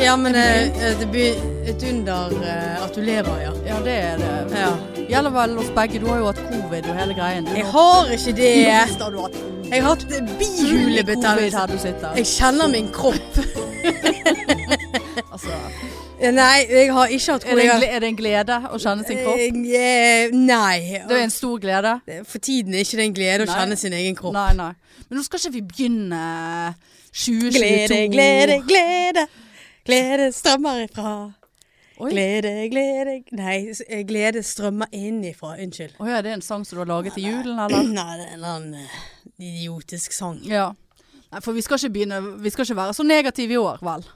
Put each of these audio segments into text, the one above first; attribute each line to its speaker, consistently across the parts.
Speaker 1: Ja, men eh, eh, det blir et under eh, at du lever, ja.
Speaker 2: Ja, det er det.
Speaker 1: ja.
Speaker 2: Gjelder vel oss begge. Du har jo hatt covid og hele greien. Du
Speaker 1: Jeg
Speaker 2: har-
Speaker 1: har ikke det.
Speaker 2: Visst har du hatt covid.
Speaker 1: Jeg har hatt
Speaker 2: Covid
Speaker 1: bihulebetennelse.
Speaker 2: her du sitter.
Speaker 1: Jeg kjenner min kropp.
Speaker 2: Altså,
Speaker 1: Nei, jeg har ikke hatt
Speaker 2: er, det en,
Speaker 1: kollega.
Speaker 2: gle- er det en glede å kjenne sin kropp?
Speaker 1: Eh, Nei. Altså,
Speaker 2: Det er en stor glede.
Speaker 1: For tiden er ikke det en glede å
Speaker 2: Nei.
Speaker 1: kjenne sin egen kropp.
Speaker 2: Nei, nei. Men nå skal ikke vi begynne eh, 2022.
Speaker 1: Glede, glede, glede. Glede strømmer ifra.
Speaker 2: Oi.
Speaker 1: Glede, glede Nei, s- eh, glede strømmer innifra. Unnskyld.
Speaker 2: Å ja, det er en sang som du har laget til julen, eller?
Speaker 1: Nei, det er en eller annen eh, idiotisk sang.
Speaker 2: Ja. Nei, for vi skal ikke begynne Vi skal ikke være så negative i år, vel?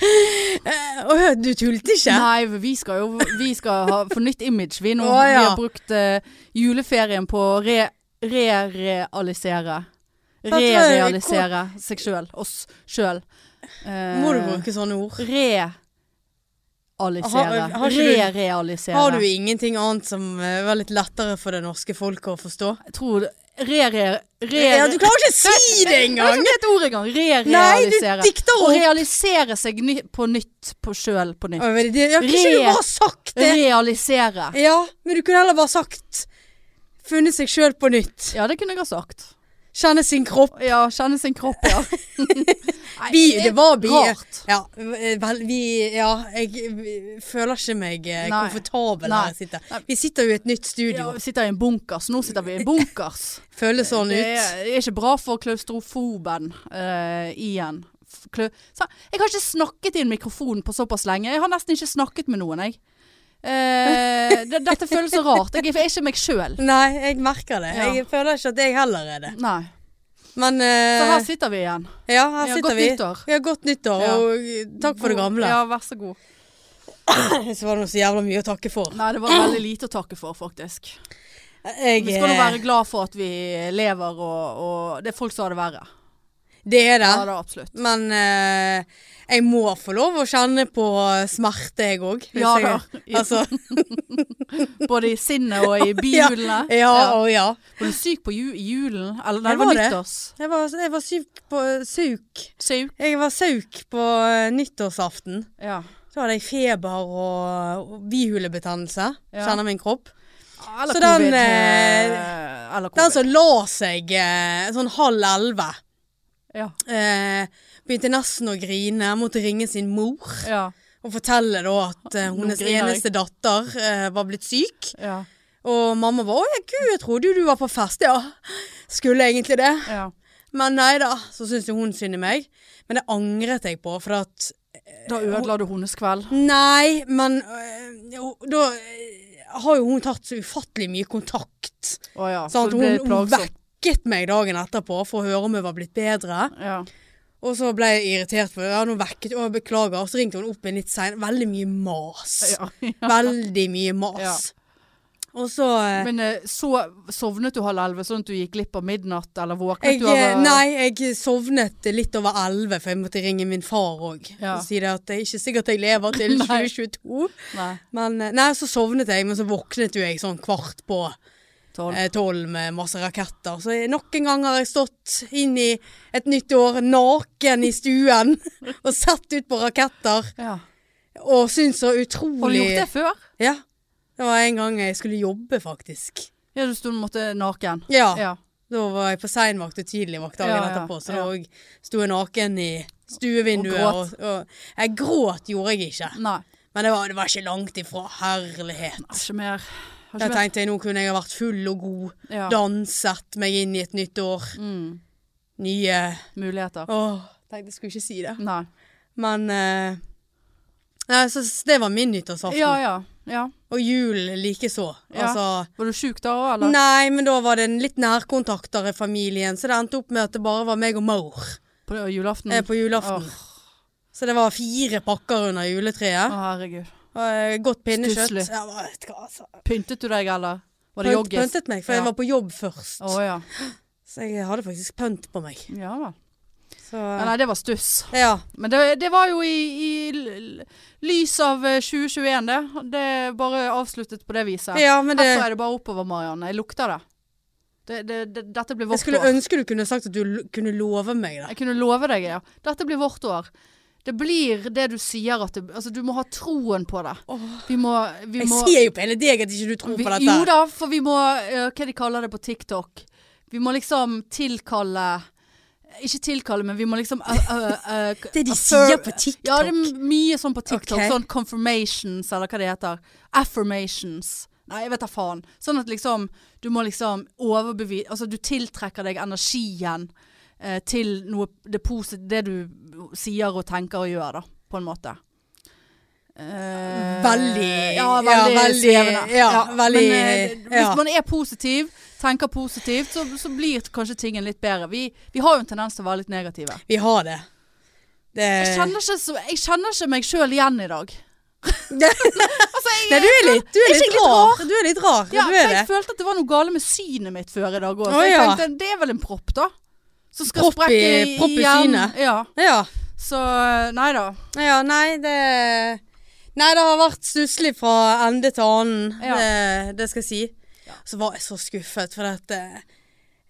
Speaker 1: Eh, Å hør, du tulte ikke?
Speaker 2: Nei, vi skal jo Vi skal ha for nytt image, vi nå.
Speaker 1: Å, ja.
Speaker 2: Vi har brukt eh, juleferien på å re, re-realisere.
Speaker 1: tror jeg-
Speaker 2: Re-realisere seg sjøl. Oss sjøl. Eh,
Speaker 1: Må du bruke sånne ord?
Speaker 2: Realisere.
Speaker 1: Har- har ikke du-
Speaker 2: Re-realisere.
Speaker 1: Har du ingenting annet som eh, var litt lettere for det norske folket å forstå?
Speaker 2: Jeg tror Re-re... Re,
Speaker 1: Ja, du klarer ikke å si det
Speaker 2: Jeg har
Speaker 1: engang!
Speaker 2: ikke et ord engang.
Speaker 1: Nei, du
Speaker 2: Re-realisere.
Speaker 1: dikter
Speaker 2: Å
Speaker 1: opp!
Speaker 2: realisere seg ny, på nytt på sjøl på nytt.
Speaker 1: Å, men det- Ja, kunne ikke du
Speaker 2: Re-
Speaker 1: bare sagt det?
Speaker 2: Realisere.
Speaker 1: Ja, men du kunne heller bare sagt Funnet seg sjøl på nytt.
Speaker 2: Ja, det kunne jeg ha sagt.
Speaker 1: Kjenne sin kropp.
Speaker 2: Ja, kjenne sin kropp, ja. Nei,
Speaker 1: Bi, det var bi.
Speaker 2: Rart.
Speaker 1: Ja, eh, vel, vi Ja, jeg vi føler ikke meg eh,
Speaker 2: Nei.
Speaker 1: komfortabel
Speaker 2: Nei.
Speaker 1: her jeg sitter.
Speaker 2: Nei.
Speaker 1: Vi sitter jo i et nytt
Speaker 2: Ja,
Speaker 1: studio.
Speaker 2: vi sitter i en bunkers. Nå sitter vi i en bunkers.
Speaker 1: Føles sånn
Speaker 2: Det
Speaker 1: ut.
Speaker 2: er, det er ikke bra for klaustrofoben eh, igjen. F- Klø Sa- jeg har ikke snakket i en mikrofon på såpass lenge. Jeg har nesten ikke snakket med noen, jeg. Eh, det, dette føles så rart. Jeg er ikke meg sjøl.
Speaker 1: Nei, jeg merker det.
Speaker 2: Ja.
Speaker 1: Jeg føler ikke at jeg heller er det.
Speaker 2: Nei.
Speaker 1: Men
Speaker 2: Så
Speaker 1: eh,
Speaker 2: her sitter vi igjen.
Speaker 1: ja, her
Speaker 2: Ja,
Speaker 1: sitter
Speaker 2: godt
Speaker 1: vi.
Speaker 2: nyttår.
Speaker 1: Ja, godt nyttår.
Speaker 2: Ja.
Speaker 1: Og eh, takk for det gamle.
Speaker 2: Ja, vær så god.
Speaker 1: Så var det noe så jævla mye å takke for.
Speaker 2: Nei, det var veldig lite å takke for, faktisk.
Speaker 1: Jeg,
Speaker 2: Vi skal nå
Speaker 1: eh,
Speaker 2: være glad for at vi lever, og, og det er folk som har det verre.
Speaker 1: det er det.
Speaker 2: Ja, det er absolutt.
Speaker 1: Men eh, jeg må få lov å kjenne på smerte, jeg òg.
Speaker 2: Ja da.
Speaker 1: Altså,
Speaker 2: Både i sinnet og i bihulene.
Speaker 1: ja, og ja.
Speaker 2: Var du syk på ju i julen? Eller nei,
Speaker 1: Jeg
Speaker 2: det var
Speaker 1: var det.
Speaker 2: nyttårs.
Speaker 1: Jeg var, jeg var syk på Sauk.
Speaker 2: Syk.
Speaker 1: Jeg var sauk på eh, nyttårsaften.
Speaker 2: Ja.
Speaker 1: Da hadde jeg feber og og bihulebetennelse.
Speaker 2: Ja.
Speaker 1: Kjenner min kropp.
Speaker 2: Eller
Speaker 1: Så
Speaker 2: covid.
Speaker 1: den,
Speaker 2: eh, Eller covid.
Speaker 1: Den som la seg eh, sånn halv elleve,
Speaker 2: ja.
Speaker 1: eh, begynte nesten å grine. Måtte ringe sin mor
Speaker 2: Ja.
Speaker 1: og fortelle da at eh, hennes
Speaker 2: griner jeg.
Speaker 1: eneste datter eh, var blitt syk.
Speaker 2: Ja.
Speaker 1: Og mamma var 'Å ja, gud, jeg trodde jo du var på fest'. Ja, skulle egentlig det.
Speaker 2: ja.
Speaker 1: Men nei da, så syntes jo hun synd i meg. Men det angret jeg på, for at
Speaker 2: Da
Speaker 1: Eh,
Speaker 2: ødela du hennes kveld.
Speaker 1: Nei, men øh, jo, da øh, har jo hun tatt så ufattelig mye kontakt.
Speaker 2: Å ja. Så
Speaker 1: Sant? Sånn
Speaker 2: det
Speaker 1: Hun,
Speaker 2: ble
Speaker 1: hun
Speaker 2: plagsomt.
Speaker 1: vekket meg dagen etterpå for å høre om jeg var blitt bedre.
Speaker 2: Ja.
Speaker 1: Og så ble jeg irritert på det. Ja, nå vekket hun, beklager. Og så ringte hun opp igjen litt sein. Veldig mye mas.
Speaker 2: Ja.
Speaker 1: Veldig mye mas. Og så øh,
Speaker 2: Men eh, så sovnet du halv elleve, sånn at du gikk glipp av midnatt, eller våknet
Speaker 1: jeg,
Speaker 2: du av
Speaker 1: øh, Nei, jeg sovnet litt over elleve, for jeg måtte ringe min far òg.
Speaker 2: Ja.
Speaker 1: Og si det at det er ikke sikkert jeg lever til
Speaker 2: Nei.
Speaker 1: 2022.
Speaker 2: Nei.
Speaker 1: Men, eh, nei, så sovnet jeg, men så våknet jo jeg sånn kvart på
Speaker 2: Tolv.
Speaker 1: eh, tolv med masse raketter. Så jeg- nok en gang har jeg stått inn i et nytt år naken i stuen og sett ut på raketter
Speaker 2: Ja.
Speaker 1: og syntes så
Speaker 2: Har du
Speaker 1: utrolig
Speaker 2: gjort det før?
Speaker 1: Ja. Det var en gang jeg skulle jobbe, faktisk.
Speaker 2: Ja, du sto på en måte naken.
Speaker 1: Ja.
Speaker 2: Ja.
Speaker 1: Da var jeg på seinvakt og tidligvakt dagen
Speaker 2: Ja, ja,
Speaker 1: etterpå, så
Speaker 2: ja.
Speaker 1: da sto jeg naken i stuevinduet.
Speaker 2: Og
Speaker 1: Og
Speaker 2: gråt.
Speaker 1: og, jeg gråt gjorde jeg ikke,
Speaker 2: Nei.
Speaker 1: men det var, det var ikke langt ifra. Herlighet.
Speaker 2: Ikke mer. Har
Speaker 1: Da
Speaker 2: ikke mer.
Speaker 1: tenkte jeg nå kunne jeg ha vært full og god.
Speaker 2: Ja.
Speaker 1: Danset meg inn i et nytt år.
Speaker 2: Mm.
Speaker 1: Nye
Speaker 2: Muligheter.
Speaker 1: Åh, tenkte jeg skulle ikke si det.
Speaker 2: Nei.
Speaker 1: Men eh, Nei, så s- det var min nyttårsaften.
Speaker 2: Ja, ja. ja.
Speaker 1: Og jul likeså.
Speaker 2: Ja.
Speaker 1: Altså
Speaker 2: Var du sjuk da òg, eller?
Speaker 1: Nei, men da var det en litt nærkontakter i familien, så det endte opp med at det bare var meg og mor
Speaker 2: På det- julaften?
Speaker 1: eh, på julaften. Så det var fire pakker under
Speaker 2: Å,
Speaker 1: juletreet.
Speaker 2: herregud.
Speaker 1: Og, eh, godt pinnekjøtt.
Speaker 2: Stusslig.
Speaker 1: Ja, hva- vet du hva, altså.
Speaker 2: Pyntet du deg, eller? Var det
Speaker 1: Pønt-
Speaker 2: joggis?
Speaker 1: Pøntet meg, for
Speaker 2: Ja.
Speaker 1: jeg var på jobb først.
Speaker 2: Å ja.
Speaker 1: Så jeg hadde faktisk pønt på meg.
Speaker 2: Ja vel.
Speaker 1: Så,
Speaker 2: Ja, nei, det var stuss.
Speaker 1: ja.
Speaker 2: Men det, det var jo i, i l- lys av eh, 2021, det. Det er bare avsluttet på det viset.
Speaker 1: Ja, men det
Speaker 2: Herfra er det bare oppover, Marianne. Jeg lukter det. Det, det, det, dette blir
Speaker 1: Jeg
Speaker 2: vårt
Speaker 1: skulle
Speaker 2: år.
Speaker 1: ønske du kunne sagt at du lo- kunne love meg det.
Speaker 2: Jeg kunne love deg, ja. Dette blir vårt år. Det blir det du sier at det, Altså, du må ha troen på det.
Speaker 1: Åh.
Speaker 2: Vi må, vi
Speaker 1: Jeg
Speaker 2: må
Speaker 1: sier jo på hele deg at ikke du tror
Speaker 2: vi,
Speaker 1: på
Speaker 2: Jo
Speaker 1: dette.
Speaker 2: da, for vi må eh, Hva de kaller det på TikTok? Vi må liksom tilkalle Ikke tilkalle, men vi må liksom eh, eh, eh,
Speaker 1: Det de
Speaker 2: affirm-
Speaker 1: sier på TikTok.
Speaker 2: Ja, det er mye sånn på TikTok.
Speaker 1: Ok.
Speaker 2: Sånn confirmations, eller hva det heter. Affirmations. Nei, jeg vet da faen. Sånn at liksom Du må liksom overbevise Altså, du tiltrekker deg energien eh, til noe det, posi- det du sier og tenker og gjør, da. På en måte. Eh,
Speaker 1: Veldig-
Speaker 2: Ja,
Speaker 1: ja,
Speaker 2: veldig,
Speaker 1: veldig-
Speaker 2: svevende.
Speaker 1: ja, veldig-
Speaker 2: Men eh, hvis
Speaker 1: ja.
Speaker 2: man er positiv, tenker positivt, så, så blir kanskje tingen litt bedre. Vi, vi har jo en tendens til å være litt negative.
Speaker 1: Vi har det. det...
Speaker 2: Jeg kjenner ikke, så, jeg kjenner ikke meg sjøl igjen i dag. altså, jeg,
Speaker 1: Nei, du er litt, du er
Speaker 2: Er ikke
Speaker 1: litt,
Speaker 2: jeg litt
Speaker 1: rar. Du er litt rar.
Speaker 2: ja,
Speaker 1: du
Speaker 2: for
Speaker 1: er
Speaker 2: jeg
Speaker 1: det.
Speaker 2: følte at det var noe gale med synet mitt før i dag òg.
Speaker 1: Å,
Speaker 2: Så jeg
Speaker 1: ja.
Speaker 2: tenkte det er vel en propp, da. Som skal
Speaker 1: Propp i-
Speaker 2: sprekke i,
Speaker 1: propp i
Speaker 2: hjernen.
Speaker 1: synet.
Speaker 2: Ja.
Speaker 1: Ja.
Speaker 2: Så eh, nei da.
Speaker 1: ja. Nei, det Nei, det har vært stusslig fra ende til annen.
Speaker 2: Ja.
Speaker 1: Det, det skal jeg si. Så var jeg så skuffet, for dette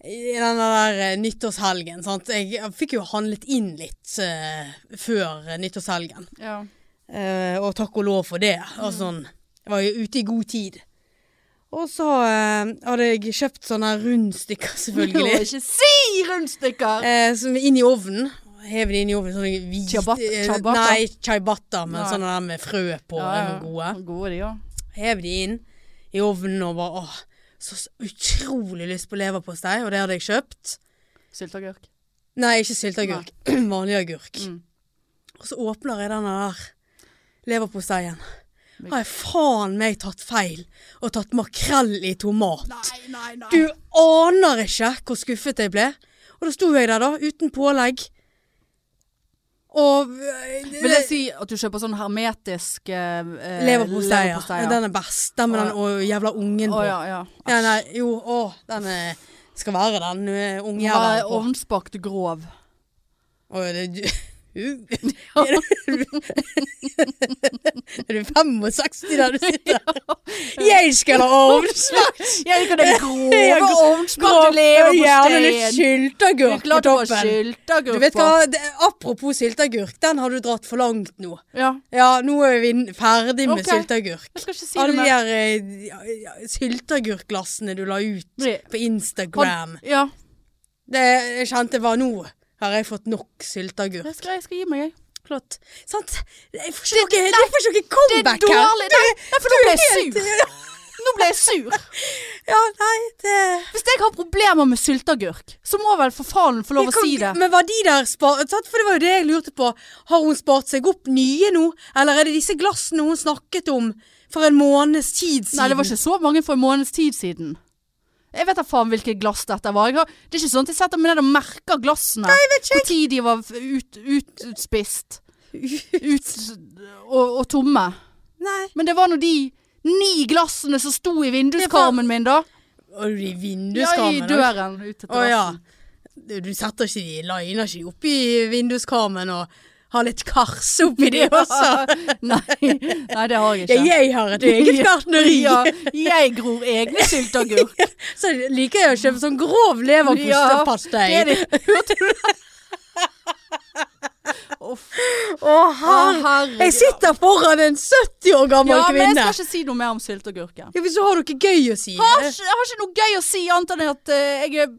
Speaker 1: I den der eh, nyttårshelgen, sant. Jeg, jeg fikk jo handlet inn litt eh, før eh, nyttårshelgen.
Speaker 2: Ja.
Speaker 1: Eh, og takk og lov for det. Og sånn. Jeg var jo ute i god tid. Og så eh, hadde jeg kjøpt sånne rundstykker, selvfølgelig.
Speaker 2: Må ikke si rundstykker!
Speaker 1: Eh, som er inn i ovnen. Hever det inn i ovnen. Sånne hvite
Speaker 2: Ciabatta-
Speaker 1: eh,
Speaker 2: ciabatta?
Speaker 1: Nei, ciabatta, men
Speaker 2: Nei.
Speaker 1: sånne der med frø på.
Speaker 2: Ja,
Speaker 1: Eh, er
Speaker 2: ja.
Speaker 1: noen gode.
Speaker 2: Gode, de, ja.
Speaker 1: Hever de inn i ovnen og bare åh, så s- utrolig lyst på leverpostei, og det hadde jeg kjøpt.
Speaker 2: Sylteagurk.
Speaker 1: Nei, ikke sylteagurk. Vanlig agurk.
Speaker 2: Mm.
Speaker 1: Og så åpner jeg denne der leverposteien. Har jeg faen meg tatt feil og tatt makrell i tomat?
Speaker 2: Nei, nei, nei.
Speaker 1: Du aner ikke hvor skuffet jeg ble. Og da sto jeg der, da, uten pålegg. Og eh,
Speaker 2: Vil det si at du kjøper sånn hermetisk eh, eh,
Speaker 1: Leverpostei, ja.
Speaker 2: leverpostei, ja.
Speaker 1: Den er best. Den med
Speaker 2: Å,
Speaker 1: den og jævla ungen på.
Speaker 2: Å, ja, ja.
Speaker 1: Ja, nei, jo, å, den er- skal være den eh,
Speaker 2: Bare
Speaker 1: ungjævelen på.
Speaker 2: Ovnsbakt grov.
Speaker 1: Å, er det du Er du- Er du 65 der du sitter? Jeg skal ha ovnsmak!
Speaker 2: Ja, ikke den
Speaker 1: Ja,
Speaker 2: grove
Speaker 1: gro-
Speaker 2: ovnsbakte
Speaker 1: Gjerne litt
Speaker 2: leverposteien.
Speaker 1: sylteagurk på
Speaker 2: Klart det var
Speaker 1: toppen. Du
Speaker 2: sylteagurk
Speaker 1: vet
Speaker 2: på.
Speaker 1: hva, det, Apropos sylteagurk, den har du dratt for langt nå.
Speaker 2: Ja,
Speaker 1: Ja, nå er vi n- ferdig med
Speaker 2: Ok.
Speaker 1: sylteagurk.
Speaker 2: jeg skal ikke si det
Speaker 1: Alle de
Speaker 2: mer.
Speaker 1: her eh, ja, ja, sylteagurkglassene du la ut
Speaker 2: Nei.
Speaker 1: på Instagram.
Speaker 2: Ja,
Speaker 1: Det jeg kjente var nå. Har jeg fått nok sylteagurk?
Speaker 2: jeg skal, jeg skal gi meg, jeg.
Speaker 1: Klart. Sant? Jeg får ikke noe- jeg får ikke noe comeback her.
Speaker 2: Nei, nei, for nå ble jeg sur.
Speaker 1: Helt-
Speaker 2: Nå ble jeg sur.
Speaker 1: Ja, nei, det
Speaker 2: Hvis jeg har problemer med sylteagurk, så må vel for faen få lov å
Speaker 1: Kom-
Speaker 2: si det.
Speaker 1: Men var de der spart sant? For det var jo det jeg lurte på. Har hun spart seg opp nye nå? Eller er det disse glassene hun snakket om for en måneds tid siden?
Speaker 2: Nei, det var ikke så mange for en måneds tid siden. Jeg vet da faen hvilke glass dette var. Jeg har, det er ikke sånn at jeg setter meg ned og merker glassene. Nei,
Speaker 1: vet ikke
Speaker 2: Hvor tid de var f- ut, utspist. Ut, og, og tomme.
Speaker 1: Nei.
Speaker 2: Men det var nå de ni glassene som sto i vinduskarmen min, da.
Speaker 1: Og de
Speaker 2: Ja, i
Speaker 1: vinduskarmen? da?
Speaker 2: døren ut til
Speaker 1: Å ja.
Speaker 2: terrassen.
Speaker 1: Du, du setter ikke de, liner ikke de opp i vinduskarmen og har litt kars oppi det også?
Speaker 2: Nei, nei, det har jeg
Speaker 1: Ja,
Speaker 2: ikke.
Speaker 1: jeg har et eget gartneri.
Speaker 2: Ja, jeg gror egne sylteagurk.
Speaker 1: Så liker jeg å kjøpe sånn grov
Speaker 2: Ja,
Speaker 1: leverpostepastei.
Speaker 2: Det er det. Hørte du det? Uff.
Speaker 1: Å,
Speaker 2: Å,
Speaker 1: herre.
Speaker 2: herregud.
Speaker 1: Jeg sitter foran en 70 år gammel
Speaker 2: ja, men jeg
Speaker 1: kvinne.
Speaker 2: skal ikke si noe mer om sylteagurken.
Speaker 1: Ja, Hvis du har noe gøy å si.
Speaker 2: Jeg har ikke, jeg har ikke noe gøy å si annet enn at eh, jeg er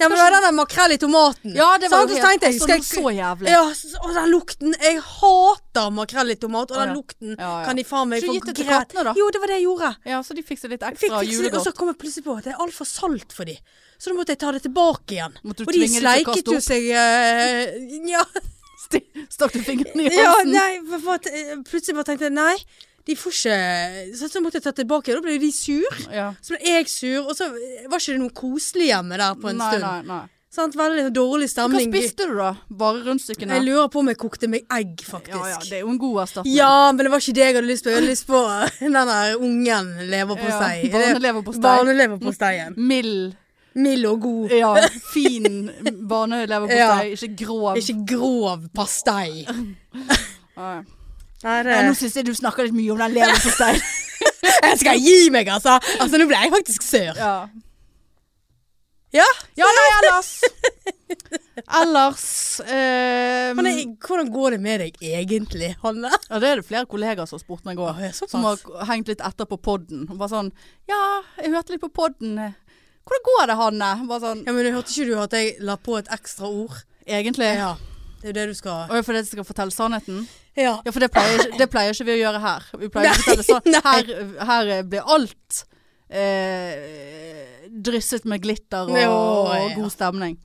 Speaker 1: Ja, men det var den der makrell i tomaten.
Speaker 2: Ja, det var
Speaker 1: Sant?
Speaker 2: jo
Speaker 1: Så tenkte jeg,
Speaker 2: altså,
Speaker 1: skal
Speaker 2: noe så jævlig.
Speaker 1: Ja, s- og den lukten Jeg hater makrell i tomat, og
Speaker 2: Å,
Speaker 1: den
Speaker 2: ja.
Speaker 1: lukten
Speaker 2: Ja, ja.
Speaker 1: kan de faen meg
Speaker 2: Skulle
Speaker 1: få
Speaker 2: du gitt det til
Speaker 1: greit-
Speaker 2: kattene, da?
Speaker 1: Jo, det var det jeg gjorde.
Speaker 2: Ja, så de fikk seg litt
Speaker 1: Fikk,
Speaker 2: ekstra
Speaker 1: fikk så- og
Speaker 2: julegodt.
Speaker 1: så kom jeg plutselig på at det er altfor salt for de. Så da måtte jeg ta det tilbake igjen.
Speaker 2: Måtte du
Speaker 1: og de
Speaker 2: tvinge de til å kaste
Speaker 1: sleiket jo
Speaker 2: opp?
Speaker 1: seg eh, ja,
Speaker 2: Sti- Stakk du fingeren i
Speaker 1: ja,
Speaker 2: halsen?
Speaker 1: nei, for- for at, eh, plutselig bare tenkte jeg nei, de får ikke Så, så måtte jeg ta tilbake, og da ble jo de sur.
Speaker 2: Ja.
Speaker 1: Så ble jeg sur, og så var ikke det noe koselig hjemme der på en
Speaker 2: nei,
Speaker 1: stund.
Speaker 2: nei, nei.
Speaker 1: Sant? Veldig dårlig
Speaker 2: Hva
Speaker 1: stemning.
Speaker 2: spiste du da? Bare rundstykkene?
Speaker 1: Jeg lurer på om jeg kokte meg egg, faktisk.
Speaker 2: Ja, ja,
Speaker 1: Ja,
Speaker 2: det er jo en god erstatning.
Speaker 1: men det var ikke det jeg hadde lyst på. Jeg hadde lyst på eh, den der ungen leverpostei.
Speaker 2: Ja, barneleverpostei.
Speaker 1: Barneleverposteien.
Speaker 2: Mild,
Speaker 1: Mild og god.
Speaker 2: ja, fin barneleverpostei. Ikke grov.
Speaker 1: Ikke grov pastei.
Speaker 2: Nei.
Speaker 1: Nei, det...
Speaker 2: Ja, nå syns jeg du snakker litt mye om den leverposteien.
Speaker 1: Jeg skal gi meg, altså! Altså, Nå ble jeg faktisk sør.
Speaker 2: ja.
Speaker 1: Ja.
Speaker 2: Ja, nei, ellers Ellers eh,
Speaker 1: Men jeg, hvordan går det med deg egentlig, Hanne?
Speaker 2: Ja, det er det flere kollegaer som har spurt meg òg.
Speaker 1: Åh, såpass.
Speaker 2: Som har hengt litt etter på podden. Og bare sånn Ja, jeg hørte litt på podden. Hvordan går det, Hanne? Bare sånn
Speaker 1: Ja, men jeg hørte ikke du at jeg la på et ekstra ord?
Speaker 2: Egentlig.
Speaker 1: Ja. Det er jo det du skal
Speaker 2: Og for det skal fortelle sannheten?
Speaker 1: Ja.
Speaker 2: Ja, for det pleier, ikke- det pleier ikke vi å gjøre her. Vi pleier ikke å
Speaker 1: Nei,
Speaker 2: fortelle sånn. Her, her eh, blir alt eh, drysset med glitter og,
Speaker 1: Jo, ja.
Speaker 2: og god stemning.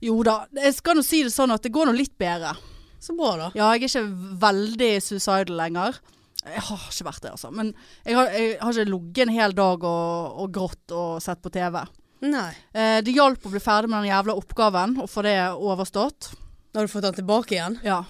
Speaker 2: Jo da, jeg skal nå si det sånn at det går nå litt bedre.
Speaker 1: Så bra, da.
Speaker 2: Ja, jeg er ikke veldig suicidal lenger. Jeg har ikke vært det, altså. Men jeg har, jeg har ikke ligget en hel dag og, og grått og sett på TV.
Speaker 1: Nei.
Speaker 2: Eh, det hjalp å bli ferdig med den jævla oppgaven og få det overstått.
Speaker 1: Har du fått den tilbake igjen?
Speaker 2: Ja.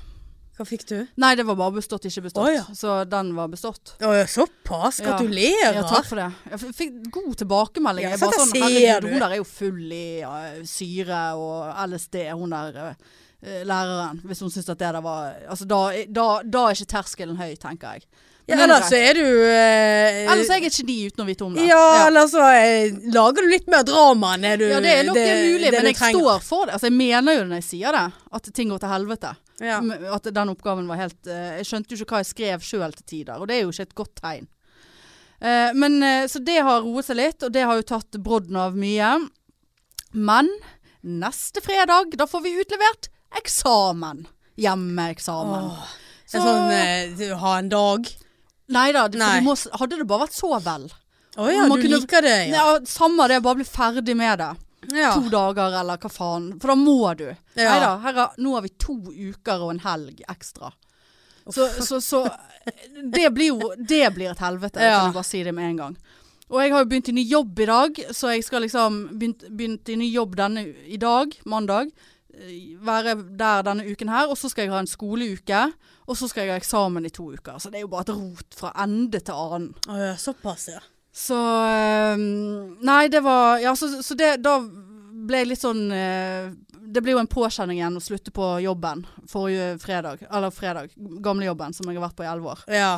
Speaker 1: Hva fikk du?
Speaker 2: Nei, det var bare bestått, ikke bestått.
Speaker 1: Å, ja.
Speaker 2: Så den var bestått.
Speaker 1: Å ja, såpass?
Speaker 2: Ja.
Speaker 1: Gratulerer.
Speaker 2: Ja, takk for det. Jeg f- fikk god tilbakemelding.
Speaker 1: Ja,
Speaker 2: jeg
Speaker 1: sant, jeg
Speaker 2: bare sånn,
Speaker 1: ser
Speaker 2: herregud,
Speaker 1: du.
Speaker 2: hun der er jo full i ja, syre og LSD, hun der eh, læreren. Hvis hun syns at det der var Altså, da, da, da er ikke terskelen høy, tenker jeg.
Speaker 1: Ja,
Speaker 2: Men
Speaker 1: ellers så
Speaker 2: mindre.
Speaker 1: er du eh,
Speaker 2: Ellers er jeg et geni uten å vite om det.
Speaker 1: Ja,
Speaker 2: ja.
Speaker 1: eller så eh, lager du litt mer drama enn det du
Speaker 2: Ja, det er nok mulig,
Speaker 1: det
Speaker 2: men
Speaker 1: du
Speaker 2: jeg
Speaker 1: trenger.
Speaker 2: står for det. Altså, jeg mener jo når jeg sier det, at ting går til helvete.
Speaker 1: Ja.
Speaker 2: M- At den oppgaven var helt eh, Jeg skjønte jo ikke hva jeg skrev sjøl til tider, og det er jo ikke et godt tegn. Eh, men eh, Så det har roet seg litt, og det har jo tatt brodden av mye. Men neste fredag, da får vi utlevert eksamen. Hjemmeeksamen.
Speaker 1: Åh,
Speaker 2: Så-
Speaker 1: En sånn eh, du, ha en dag.
Speaker 2: Nei da,
Speaker 1: Nei.
Speaker 2: hadde det bare vært så vel.
Speaker 1: Å ja,
Speaker 2: Man
Speaker 1: du
Speaker 2: kunne-
Speaker 1: liker det, ja.
Speaker 2: Ja, Samme det, bare bli ferdig med det.
Speaker 1: ja.
Speaker 2: to dager eller hva faen. For da må du.
Speaker 1: Ja.
Speaker 2: Neida, her er, nå har vi to uker og en helg ekstra. Så, så, så det blir jo Det blir et helvete,
Speaker 1: Ja.
Speaker 2: kan du bare si det med en gang. Og jeg har jo begynt i ny jobb i dag, så jeg skal liksom begynt, begynt i ny jobb denne u- i dag, mandag. eh, Være der denne uken her, og så skal jeg ha en skoleuke. Og så skal jeg ha eksamen i to uker. Så det er jo bare et rot fra ende til annen.
Speaker 1: Å ja, såpass, ja.
Speaker 2: Så ehm, Nei, det var Ja, så, så det Da ble jeg litt sånn eh, Det ble jo en påkjenning igjen å slutte på jobben forrige fredag. Eller fredag. Gamlejobben som jeg har vært på i elleve år.
Speaker 1: ja.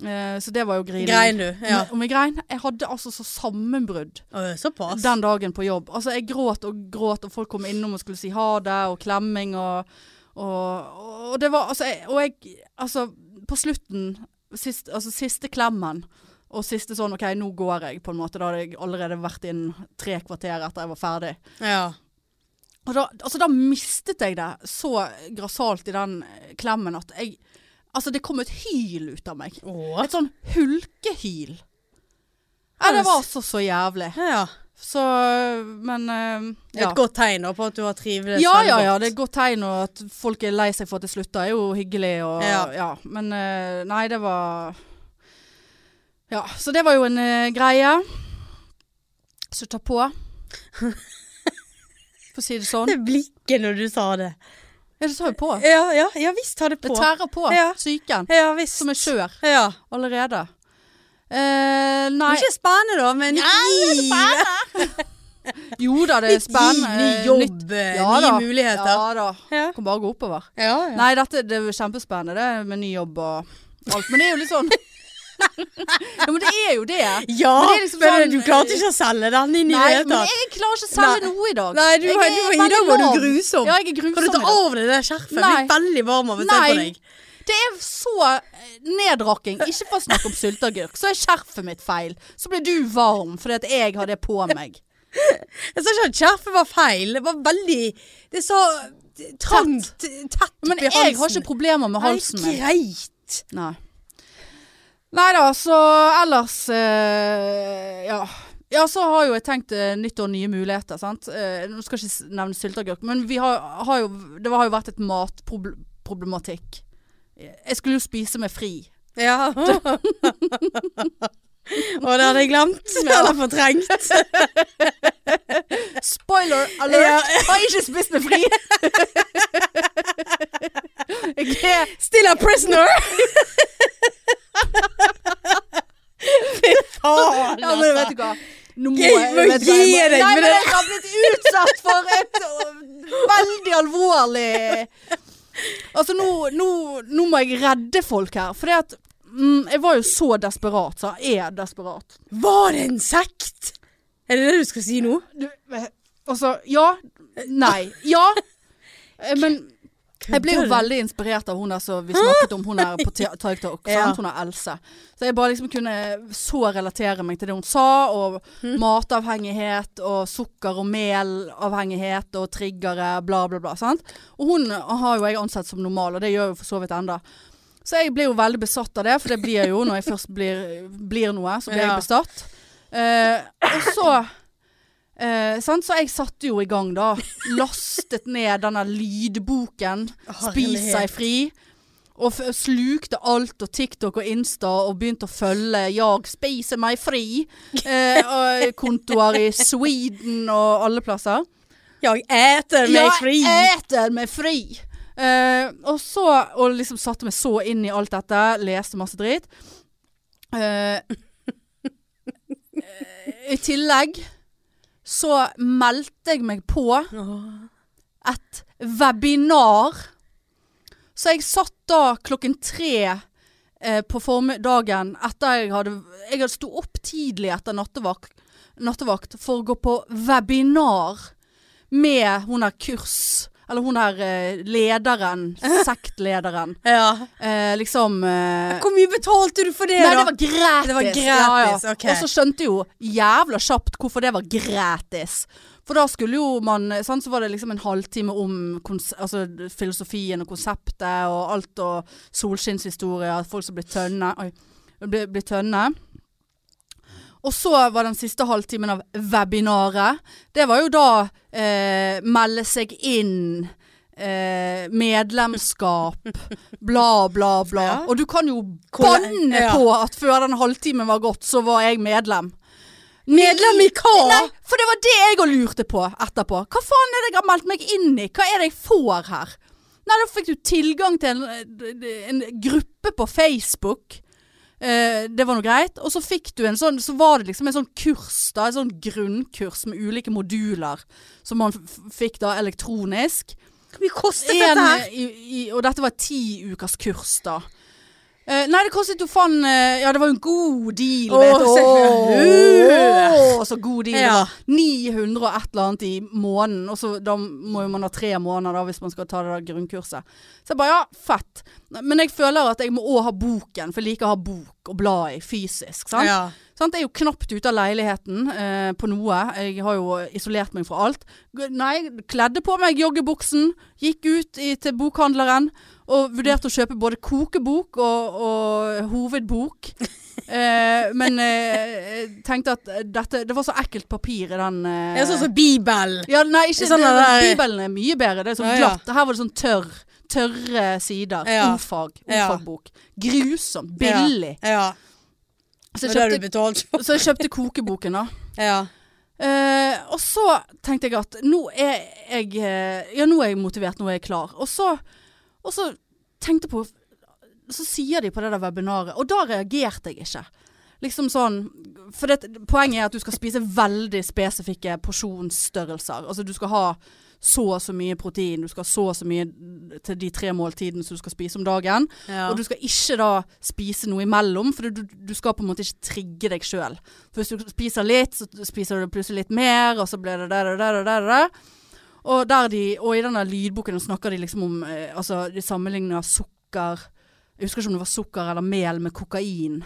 Speaker 2: Eh, så det var jo grining.
Speaker 1: Grein du? Ja.
Speaker 2: Om jeg grein? Jeg hadde altså så sammenbrudd
Speaker 1: Å ja, såpass?
Speaker 2: den dagen på jobb. Altså, jeg gråt og gråt, og folk kom innom og skulle si ha det, og klemming og Og, og det var Altså, jeg, og jeg Altså, på slutten, sist, altså siste klemmen og siste sånn OK, nå går jeg, på en måte. Da hadde jeg allerede vært inn tre kvarter etter jeg var ferdig.
Speaker 1: Ja.
Speaker 2: Og da, altså, da mistet jeg det så grassat i den eh, klemmen at jeg Altså, det kom et hyl ut av meg.
Speaker 1: Å.
Speaker 2: Et sånn hulkehyl. Ja, det var altså så jævlig.
Speaker 1: Ja.
Speaker 2: Så, men eh,
Speaker 1: Det er Et godt tegn da på at du har trivdes
Speaker 2: ja,
Speaker 1: veldig
Speaker 2: ja,
Speaker 1: godt.
Speaker 2: ja. Det er et godt tegn, og at folk er lei seg for at det slutter, er jo hyggelig. Og, ja.
Speaker 1: Ja.
Speaker 2: Men eh, nei, det var Ja, så det var jo en eh, greie. Så ta på. For å si det sånn.
Speaker 1: Det blikket når du sa det.
Speaker 2: Ja, det tar jo på.
Speaker 1: Ja, ja, ja visst har det
Speaker 2: Det
Speaker 1: på.
Speaker 2: tærer på
Speaker 1: Ja.
Speaker 2: psyken,
Speaker 1: Ja visst.
Speaker 2: som er skjør
Speaker 1: Ja.
Speaker 2: allerede. Eh, nei
Speaker 1: Ikke spennende, da, men ny,
Speaker 2: Jo da, det er
Speaker 1: nytt liv,
Speaker 2: spennende.
Speaker 1: ny jobb, nye
Speaker 2: da.
Speaker 1: muligheter.
Speaker 2: Ja da.
Speaker 1: Ja.
Speaker 2: Kan bare gå oppover.
Speaker 1: Ja, ja.
Speaker 2: Nei, dette det er jo kjempespennende det med ny jobb og alt. Men det er jo litt sånn Ja, men det er jo det.
Speaker 1: ja
Speaker 2: Men
Speaker 1: men,
Speaker 2: det er liksom sånn-
Speaker 1: du klarte ikke å selge den inn i
Speaker 2: Nei,
Speaker 1: det hele
Speaker 2: men
Speaker 1: tatt.
Speaker 2: jeg klarer ikke å selge
Speaker 1: Nei.
Speaker 2: noe i dag.
Speaker 1: Nei, du,
Speaker 2: Jeg
Speaker 1: var-
Speaker 2: er
Speaker 1: du, var- i dag
Speaker 2: veldig
Speaker 1: var du
Speaker 2: lam.
Speaker 1: grusom.
Speaker 2: Ja, jeg er
Speaker 1: Kan du
Speaker 2: grusom.
Speaker 1: ta
Speaker 2: i dag.
Speaker 1: av deg det der skjerfet? Jeg
Speaker 2: liksom sånn- Nei.
Speaker 1: blir veldig varm av å se på
Speaker 2: Nei.
Speaker 1: deg.
Speaker 2: Det er så nedraking. Ikke for å snakke om sylteagurk, så er skjerfet mitt feil. Så ble du varm fordi at jeg har det på meg.
Speaker 1: Jeg sa ikke at skjerfet var feil. Det var veldig Det er så trangt, tett,
Speaker 2: Men jeg har ikke problemer med halsen min.
Speaker 1: Greit.
Speaker 2: Nei. Nei da, så ellers eh, ja. ja, så har jo jeg tenkt eh, nytt år, nye muligheter, sant. Eh, nå skal jeg ikke s- nevne sylteagurk, men vi har, har jo Det har jo vært et matproblematikk. Jeg skulle jo spise meg fri.
Speaker 1: Ja. Og det hadde jeg glemt.
Speaker 2: Ja.
Speaker 1: Eller fortrengt.
Speaker 2: Spoiler alert!
Speaker 1: Ja.
Speaker 2: Jeg har ikke spist meg fri! jeg er
Speaker 1: Still a prisoner! Fy faen,
Speaker 2: Ja, men vet du hva. Nå
Speaker 1: Gi- må
Speaker 2: vet du hva,
Speaker 1: gi
Speaker 2: jeg
Speaker 1: deg
Speaker 2: må- Nei,
Speaker 1: med
Speaker 2: men
Speaker 1: det.
Speaker 2: jeg har blitt utsatt for et øh, veldig alvorlig Altså, nå, nå, nå må jeg redde folk her. For at mm, Jeg var jo så desperat, så jeg er desperat.
Speaker 1: Var det en sekt? Er det det du skal si nå?
Speaker 2: Du, eh, Altså, ja. Nei. Ja. Eh, Men jeg ble jo veldig inspirert av hun der som vi snakket om, hun der på te- TikTok.
Speaker 1: Ja.
Speaker 2: Sant? Hun er Else. Så jeg bare liksom kunne så relatere meg til det hun sa, og
Speaker 1: Hm.
Speaker 2: matavhengighet og sukker- og melavhengighet og triggere, bla, bla, bla. Sant? Og hun har jo jeg ansett som normal, og det gjør jeg jo for så vidt enda. Så jeg blir jo veldig besatt av det, for det blir jeg jo når jeg først blir, blir noe, så blir
Speaker 1: Ja.
Speaker 2: jeg besatt. Eh, og så eh, sant? Så jeg satte jo i gang, da. Lastet ned denne lydboken. Spis
Speaker 1: Herlighet.
Speaker 2: seg fri. Og f slukte alt og TikTok og Insta og begynte å følge 'Jag spiser meg fri'. Eh, og kontoer i Sweden og alle plasser.
Speaker 1: Jeg eter meg fri.
Speaker 2: Jeg eter meg fri. Eh, og så Og liksom satte meg så inn i alt dette, leste masse drit. Eh, I tillegg så meldte jeg meg på
Speaker 1: Åh.
Speaker 2: et webinar. Så jeg satt da klokken tre eh, på formiddagen etter jeg hadde Jeg hadde stått opp tidlig etter nattevakt, nattevakt for å gå på webinar med hun der kurs Eller hun der eh, lederen, sektlederen.
Speaker 1: Ja.
Speaker 2: Eh, liksom eh,
Speaker 1: Hvor mye betalte du for det,
Speaker 2: Nei,
Speaker 1: da?
Speaker 2: det var gratis.
Speaker 1: Det var gratis, ok.
Speaker 2: Og så skjønte jeg jo jævla kjapt hvorfor det var gratis. For da skulle jo man sant, Så var det liksom en halvtime om kons altså, filosofien og konseptet og alt og solskinnshistorier, folk som blir tønne. Oi. Blir, blir tønne. Og så var den siste halvtimen av webinaret. Det var jo da eh, melde seg inn. Eh, medlemskap, bla, bla, bla.
Speaker 1: Ja.
Speaker 2: Og du kan jo
Speaker 1: Hvor-
Speaker 2: banne
Speaker 1: ja.
Speaker 2: på at før den halvtimen var gått, så var jeg medlem.
Speaker 1: Medlem i hva?
Speaker 2: Nei, for det var det jeg òg lurte på etterpå. Hva faen er det jeg har meldt meg inn i? Hva er det jeg får her? Nei, da fikk du tilgang til en, en gruppe på Facebook. Eh, det var noe greit. Og så fikk du en sånn Så var det liksom en sånn kurs, da. En sånn grunnkurs med ulike moduler som man f fikk da elektronisk.
Speaker 1: Hvor mye kostet
Speaker 2: En,
Speaker 1: dette her?
Speaker 2: i, i, og dette var et ti ukers kurs, da. Eh, nei, det kostet jo faen eh, Ja, det var jo en god deal.
Speaker 1: Åh,
Speaker 2: vet du.
Speaker 1: selvfølgelig.
Speaker 2: Åh, så god deal.
Speaker 1: Ja.
Speaker 2: Det var 900 og et eller annet i måneden. Og så da må jo man ha tre måneder da, hvis man skal ta det der grunnkurset. Så jeg bare ja, fett. Men jeg føler at jeg må òg ha boken, for jeg liker å ha bok og bla i fysisk. Sant?
Speaker 1: Ja.
Speaker 2: Sant? Jeg er jo knapt ute av leiligheten eh, på noe. Jeg har jo isolert meg fra alt. G- Nei, kledde på meg joggebuksen, gikk ut i, til bokhandleren og vurderte å kjøpe både kokebok og, og hovedbok. Eh, men eh, jeg tenkte at dette Det var så ekkelt papir i den eh,
Speaker 1: Det er sånn som Bibelen.
Speaker 2: ja, nei, ikke
Speaker 1: Sånn
Speaker 2: det,
Speaker 1: der-
Speaker 2: Bibelen er mye bedre. Det er sånn
Speaker 1: Ja, ja.
Speaker 2: glatt. Her var det sånn tørr. Tørre sider.
Speaker 1: Ja.
Speaker 2: Ordfag.
Speaker 1: Ja.
Speaker 2: Ordfagbok. Grusom. Billig.
Speaker 1: Ja. Det
Speaker 2: Så
Speaker 1: var
Speaker 2: jeg
Speaker 1: det
Speaker 2: kjøpte
Speaker 1: du betalte for.
Speaker 2: så jeg kjøpte kokeboken, da.
Speaker 1: Ja.
Speaker 2: Eh, og så tenkte jeg at nå er jeg eh, Ja, nå er jeg motivert, nå er jeg klar. Og så, og så tenkte jeg på Så sier de på det der webinaret, og da reagerte jeg ikke. Liksom sånn For det, poenget er at du skal spise veldig spesifikke porsjonsstørrelser. Altså du skal ha så og så mye protein, du skal ha så og så mye til de tre måltidene som du skal spise om dagen.
Speaker 1: ja.
Speaker 2: Og du skal ikke da spise noe imellom, for du, du skal på en måte ikke trigge deg sjøl. For hvis du spiser litt, så spiser du plutselig litt mer, og så blir det der og der og der. Og der. Og, der de, og i denne lydboken snakker de liksom om eh, Altså, de sammenligner sukker Jeg husker ikke om det var sukker eller mel med kokain.